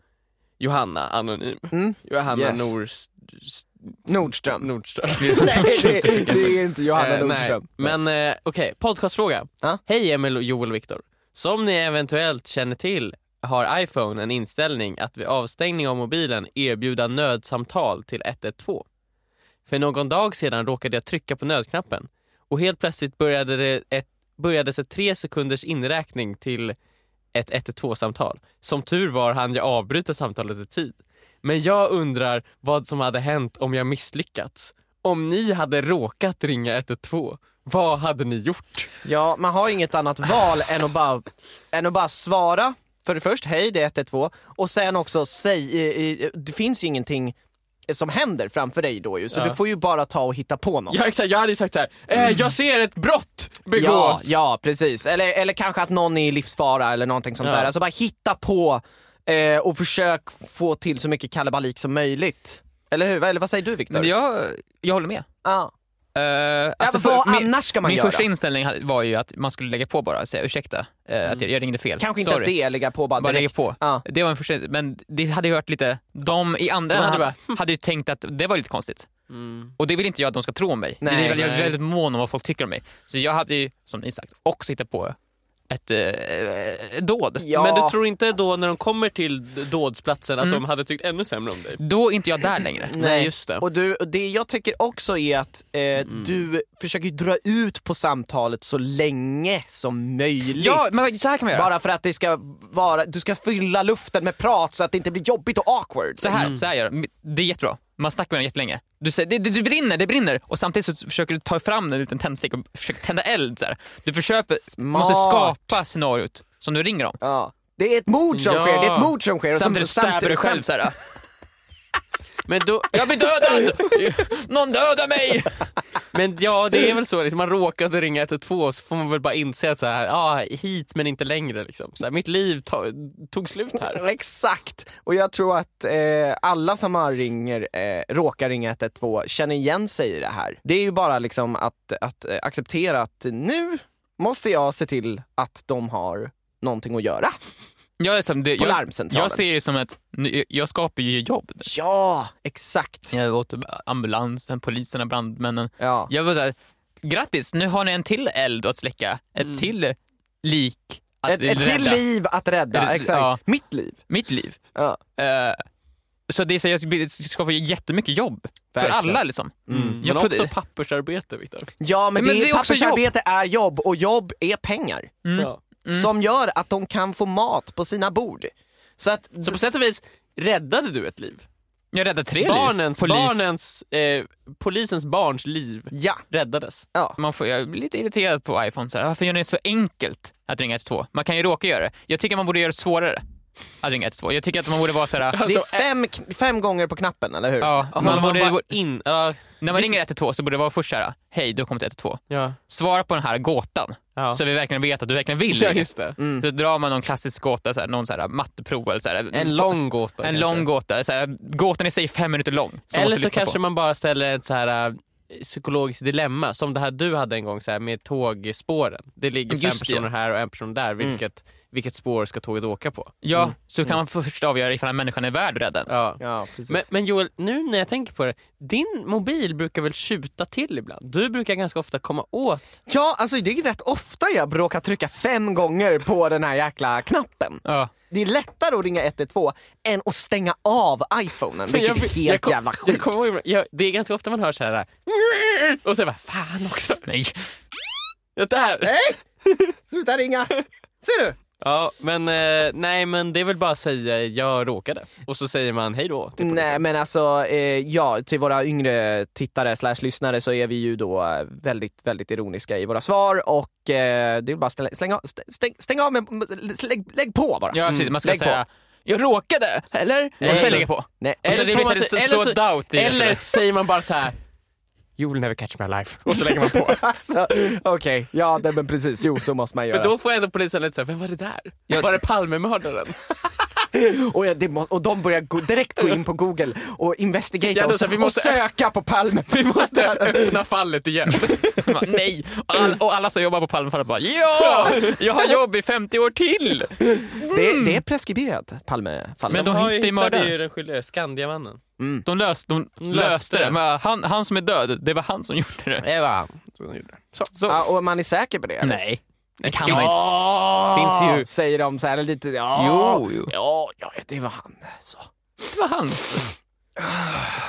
Speaker 3: Johanna anonym.
Speaker 4: Mm.
Speaker 3: Johanna
Speaker 4: Yes.
Speaker 3: Nor... s- s-
Speaker 4: Nordström.
Speaker 3: Nordström.
Speaker 4: Nej, det, det är inte Johanna
Speaker 3: Eh, nej.
Speaker 4: Nordström.
Speaker 3: Men eh, okej, podcastfråga.
Speaker 4: Ja.
Speaker 3: Hej Emil, och Joel och Viktor. Som ni eventuellt känner till har iPhone en inställning att vid avstängning av mobilen erbjuda nödsamtal till 112. För någon dag sedan råkade jag trycka på nödknappen och helt plötsligt började det ett, började sig tre sekunders inräkning till ett 112-samtal. Som tur var hann jag avbryta samtalet i tid. Men jag undrar vad som hade hänt om jag misslyckats. Om ni hade råkat ringa 112, vad hade ni gjort?
Speaker 4: Ja, man har inget annat val än att bara, än att bara svara. För det först, hej det är 112. Och sen också, säg, eh, eh, det finns ju ingenting som händer framför dig då ju. Så
Speaker 3: Ja.
Speaker 4: du får ju bara ta och hitta på något.
Speaker 3: Ja, exakt, jag hade ju sagt så här. Eh, jag ser ett brott begås.
Speaker 4: Ja, ja precis. Eller, eller kanske att någon är i livsfara eller någonting sånt
Speaker 3: Ja.
Speaker 4: där. Alltså bara hitta på eh, och försök få till så mycket kalabalik som möjligt. Eller hur? Eller vad säger du Viktor?
Speaker 2: Men jag, jag håller med.
Speaker 4: Ja.
Speaker 2: Eh, alltså
Speaker 4: ja, men vad
Speaker 2: för- min,
Speaker 4: annars ska man
Speaker 2: min
Speaker 4: göra?
Speaker 2: första inställning hade- var ju att man skulle lägga på bara och säga ursäkta eh, att jag, jag ringde fel.
Speaker 4: Mm. Kanske inte
Speaker 2: Sorry.
Speaker 4: ens det, lägga på bara
Speaker 2: Bara
Speaker 4: direkt.
Speaker 2: lägga på.
Speaker 4: Ja.
Speaker 2: Det var en första, men det hade ju hört lite, de i andra
Speaker 3: De hade
Speaker 2: hade,
Speaker 3: bara,
Speaker 4: "Hm."
Speaker 2: hade ju tänkt att det var lite konstigt.
Speaker 3: Mm.
Speaker 2: Och det vill inte jag att de ska tro om mig.
Speaker 4: Nej,
Speaker 2: det är väl, jag
Speaker 3: nej.
Speaker 2: är väldigt mån om vad folk tycker om mig. Så jag hade ju, som ni sagt, också hittat på ett, eh, eh, dåd.
Speaker 4: Ja.
Speaker 3: Men du tror inte då när de kommer till d- dådsplatsen att
Speaker 2: Mm.
Speaker 3: de hade tyckt ännu sämre om dig?
Speaker 2: Då är inte jag där längre.
Speaker 3: Nej, just det.
Speaker 4: Och, du, och det jag tycker också är att eh,
Speaker 2: Mm.
Speaker 4: du försöker ju dra ut på samtalet så länge som möjligt.
Speaker 2: Ja, men så här kan man göra.
Speaker 4: bara för att det ska vara, du ska fylla luften med prat så att det inte blir jobbigt och awkward.
Speaker 2: Så här,
Speaker 3: Mm.
Speaker 2: så här gör de. Det är jättebra. Man snackar med den jättelänge. Du säger det, det, det brinner, det brinner och samtidigt så försöker du ta fram en liten tändstick och försöker tända eld. Så här. Du försöker,
Speaker 4: Smart.
Speaker 2: måste skapa scenariot som du ringer om.
Speaker 4: Ja. Det är ett mord som
Speaker 3: Ja.
Speaker 4: sker, det är ett mord som sker. Och
Speaker 2: Samtidigt
Speaker 4: som,
Speaker 2: stäber du själv
Speaker 4: samtidigt-
Speaker 2: så här.
Speaker 3: Men då,
Speaker 2: Jag blir dödad! Någon dödar mig!
Speaker 3: Men ja, det är väl så. Liksom, man råkade ringa 112 så får man väl bara inse att så här, ah, hit men inte längre. Liksom. Så här, mitt liv ta- tog slut här.
Speaker 4: Exakt! Och jag tror att eh, alla som har ringer, eh, råkar ringa 112 känner igen sig i det här. Det är ju bara liksom att, att eh, acceptera att nu måste jag se till att de har någonting att göra
Speaker 2: Jag, är som det,
Speaker 4: på
Speaker 2: jag,
Speaker 4: larmcentralen.
Speaker 2: jag ser det som att nu- jag skapar ju jobb.
Speaker 4: Ja, exakt!
Speaker 2: Jag åt ambulansen, poliserna, brandmännen.
Speaker 4: Ja.
Speaker 2: Jag var såhär, grattis nu har ni en till eld att släcka, ett till lik att
Speaker 4: Ett, ett till
Speaker 2: rädda.
Speaker 4: liv att rädda,
Speaker 2: Rädda,
Speaker 4: exakt.
Speaker 2: ja.
Speaker 4: Mitt liv.
Speaker 2: Mitt liv.
Speaker 4: Ja.
Speaker 2: Eh, så det är så här, jag skapar ju jättemycket jobb
Speaker 4: Verkligen.
Speaker 2: för alla liksom.
Speaker 4: Mm.
Speaker 2: Jag
Speaker 3: men
Speaker 2: trodde-
Speaker 3: också pappersarbete, Viktor.
Speaker 4: Ja men,
Speaker 2: Men
Speaker 4: det,
Speaker 2: det är också
Speaker 4: pappersarbete är jobb och jobb är pengar.
Speaker 3: Ja.
Speaker 4: Som gör att de kan få mat på sina bord. Så att,
Speaker 3: Så på sätt och vis räddade du ett liv.
Speaker 2: Jag räddade tre liv.
Speaker 3: Barnens,
Speaker 2: Polis.
Speaker 3: barnens, eh, polisens barns liv
Speaker 4: ja.
Speaker 3: räddades.
Speaker 2: Man får, jag blir lite irriterad på iPhone. Så här, varför gör ni det så enkelt att ringa 112? Man kan ju råka göra det. Jag tycker man borde göra det svårare att ringa 112. Jag tycker att man borde vara så här...
Speaker 4: Det är
Speaker 3: Alltså,
Speaker 4: fem, kn- fem gånger på knappen, eller hur?
Speaker 2: ja, man
Speaker 3: Man, man
Speaker 2: borde,
Speaker 3: bara in... Ja.
Speaker 2: när man ringer 112 så borde det vara först så här, hej du har kommit till 112.
Speaker 3: Ja.
Speaker 2: Svara på den här gåtan
Speaker 3: Ja.
Speaker 2: så vi verkligen vet att du verkligen vill
Speaker 3: ja,
Speaker 2: ringa.
Speaker 3: just det.
Speaker 4: Mm.
Speaker 2: Så drar man någon klassisk gåta, så här, någon så här matteprov eller så här,
Speaker 3: En lång gåta.
Speaker 2: en
Speaker 3: kanske.
Speaker 2: lång gåta. Så här, gåtan i sig är fem minuter lång. som man
Speaker 3: Eller
Speaker 2: måste
Speaker 3: så
Speaker 2: lyssna
Speaker 3: kanske
Speaker 2: på.
Speaker 3: man bara ställer ett så här eh, psykologiskt dilemma som det här du hade en gång så här, med tågspåren. Det Mm. ligger fem
Speaker 2: Just det.
Speaker 3: personer här och en person där. Vilket, vilket spår ska tåget åka på?
Speaker 2: Ja, så kan man först avgöra ifall en människan är värd räddens.
Speaker 3: Mm. Ja.
Speaker 4: Ja, precis.
Speaker 3: Men, men Joel, nu när jag tänker på det. Din mobil brukar väl tjuta till ibland? Du brukar ganska ofta komma åt.
Speaker 4: ja, alltså det är rätt ofta jag råkar trycka fem gånger på den här jäkla knappen.
Speaker 2: Ja.
Speaker 4: Det är lättare att ringa 112 än att stänga av iPhonen, vilket är helt
Speaker 3: kom-
Speaker 4: jävla
Speaker 3: jag
Speaker 4: sjukt.
Speaker 3: kommer ihåg- jag, det är ganska ofta man hör så här. Och så bara, fan också.
Speaker 2: Nej.
Speaker 3: Det här.
Speaker 4: Sluta ringa! Ser du?
Speaker 3: Ja, men eh, nej, men det är väl bara att säga jag råkade. Och så säger man hej då. till polisen.
Speaker 4: Nej men alltså, eh, ja till våra yngre tittare slash lyssnare så är vi ju då eh, väldigt, väldigt ironiska i våra svar och eh, det är bara att ställa- slänga, av- stäng, stäng, stäng av med, lägg, lägg på bara.
Speaker 3: Mm.
Speaker 2: Ja, precis. Man ska
Speaker 4: Lägg på.
Speaker 2: säga jag råkade, eller?
Speaker 4: Nej.
Speaker 2: och sen lägga på.
Speaker 4: Nej,
Speaker 2: Och så
Speaker 3: Eller
Speaker 2: det
Speaker 3: så
Speaker 2: blir
Speaker 3: får man
Speaker 2: så, så,
Speaker 3: säga- eller
Speaker 2: så,
Speaker 3: så-
Speaker 2: doubt i
Speaker 3: Eller
Speaker 2: det.
Speaker 3: säger man bara så här. You will never catch my life. Och så lägger man på.
Speaker 4: alltså, okej, ja nej, men precis, jo så måste man
Speaker 3: För
Speaker 4: göra.
Speaker 3: då får ändå polisen lite såhär, vem var det där? Var det Palmemördaren?
Speaker 4: Och, jag, det må, och de börjar gå, direkt gå in på google och investigate
Speaker 3: Ja, då
Speaker 4: och,
Speaker 3: så här, vi måste-
Speaker 4: och söka på Palme.
Speaker 3: Vi måste öppna fallet igen.
Speaker 2: Man, Nej! Och alla, och alla som jobbar på Palmefallet bara ja! Jag har jobb i 50 år till!
Speaker 4: Det,
Speaker 3: Mm.
Speaker 4: det är preskriberat,
Speaker 2: Men
Speaker 4: Palmefallet.
Speaker 2: de hittar ju mördaren.
Speaker 3: den skyldige Skandiamannen.
Speaker 2: De, lös, de löste det.
Speaker 3: det.
Speaker 2: Men han, han som är död, det var han som gjorde det.
Speaker 3: Det var han. som gjorde det. Så.
Speaker 4: ja, och man är säker på det? eller?
Speaker 2: Nej, det kan man inte.
Speaker 4: Ja,
Speaker 2: Finns ju-
Speaker 4: Ah! Säger de så här lite, ja,
Speaker 2: Jo, jo.
Speaker 4: ja, ja det var han. Så.
Speaker 2: Det var han.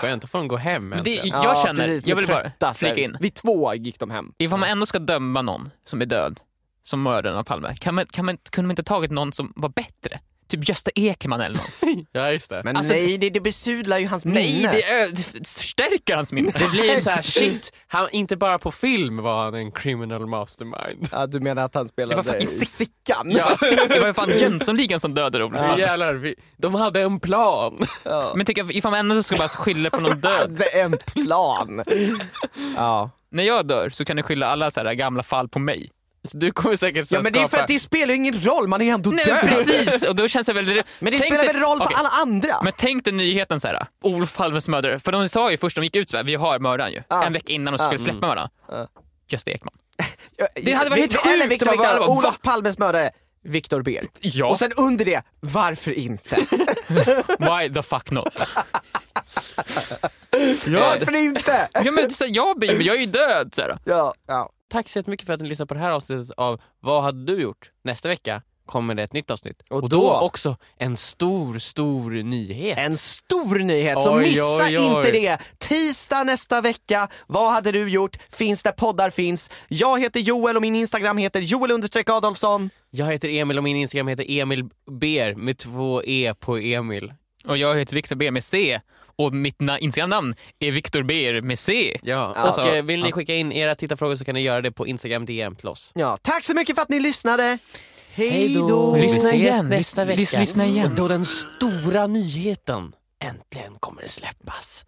Speaker 3: Skönt, då får de gå hem
Speaker 2: Men det,
Speaker 3: äntligen.
Speaker 2: jag
Speaker 4: ja,
Speaker 2: känner,
Speaker 4: precis,
Speaker 2: jag
Speaker 4: vi
Speaker 2: vill
Speaker 4: trötta,
Speaker 2: bara
Speaker 4: så här.
Speaker 2: flika in.
Speaker 4: Vid två gick de hem.
Speaker 2: Ifall man ändå ska döma någon som är död, som mördaren av Palme, kan man, kan man, kunde man inte tagit någon som var bättre? Typ Gösta Ekman eller någon.
Speaker 3: Ja, just det.
Speaker 4: Men
Speaker 2: Alltså,
Speaker 4: nej, det, det besudlar ju hans
Speaker 2: Nej,
Speaker 4: minne.
Speaker 2: det, ö- det förstärker hans minne.
Speaker 3: Det blir så här, shit, han, inte bara på film var han en criminal mastermind.
Speaker 4: Ja, du menar att han spelade
Speaker 2: Det var fucking Sick-
Speaker 4: Sickan?
Speaker 2: Ja, det var ju fan Jönssonligan som dödade Olof Palme.
Speaker 3: Jävlar, vi, de hade en plan.
Speaker 2: Men tycker jag, ifall man ändå ska bara skylla på någon död.
Speaker 4: hade en plan. Ja.
Speaker 2: När jag dör så kan ni skylla alla så här gamla fall på mig.
Speaker 3: Så du kommer säkert så
Speaker 4: ja, men det är för
Speaker 3: skapa-
Speaker 4: att det spelar ju ingen roll, man är ju ändå
Speaker 2: Nej
Speaker 4: död.
Speaker 2: men precis, och då känns det väl...
Speaker 4: Men det
Speaker 2: Tänk
Speaker 4: spelar
Speaker 2: dig-
Speaker 4: väl roll för
Speaker 2: Okej,
Speaker 4: alla andra?
Speaker 2: Men tänk dig nyheten så här. Olof Palmes mördare. För de sa ju först, de gick ut så här, vi har mördaren ju.
Speaker 4: Ja.
Speaker 2: En vecka innan de skulle
Speaker 4: Ah,
Speaker 2: släppa
Speaker 4: mm.
Speaker 2: mördaren.
Speaker 4: Ja.
Speaker 2: Gösta Ekman.
Speaker 4: Ja,
Speaker 2: det hade varit
Speaker 4: Victor-
Speaker 2: sjukt
Speaker 4: Eller
Speaker 2: om
Speaker 4: Victor,
Speaker 2: man bara-
Speaker 4: Victor,
Speaker 2: va?
Speaker 4: Olof Palmes mördare, Viktor Ber.
Speaker 2: Ja,
Speaker 4: Och sen under det, varför inte?
Speaker 2: why the fuck not? ja,
Speaker 4: Varför inte?
Speaker 2: ja, men det är så här, jag blir men jag är ju död. Så här.
Speaker 4: Ja. ja.
Speaker 3: Tack så jättemycket för att ni lyssnade på det här avsnittet av Vad hade du gjort? Nästa vecka kommer det ett nytt avsnitt.
Speaker 4: Och
Speaker 3: Och,
Speaker 4: då-
Speaker 3: då, också en stor, stor nyhet.
Speaker 4: En stor nyhet, så
Speaker 3: Oj,
Speaker 4: missa
Speaker 3: oj, oj.
Speaker 4: inte det! Tisdag nästa vecka, vad hade du gjort? Finns där poddar finns. Jag heter Joel och min Instagram heter joel understreck Adolfsson.
Speaker 3: Jag heter Emil och min Instagram heter Emil Ber med två E på Emil.
Speaker 2: Och jag heter Viktor B med C. Och mitt na- Instagram-namn är Viktor B med C.
Speaker 3: Ja.
Speaker 2: Alltså,
Speaker 3: och eh, vill ni
Speaker 2: ja.
Speaker 3: skicka in era tittarfrågor så kan ni göra det på Instagram DM till oss.
Speaker 4: Ja, tack så mycket för att ni lyssnade! Hej
Speaker 3: Hej
Speaker 4: då!
Speaker 3: då.
Speaker 2: Lyssna
Speaker 3: Vi ses
Speaker 2: igen,
Speaker 3: nästa
Speaker 2: lys-
Speaker 3: vecka.
Speaker 2: lyssna igen.
Speaker 3: Och då den stora nyheten äntligen kommer att släppas.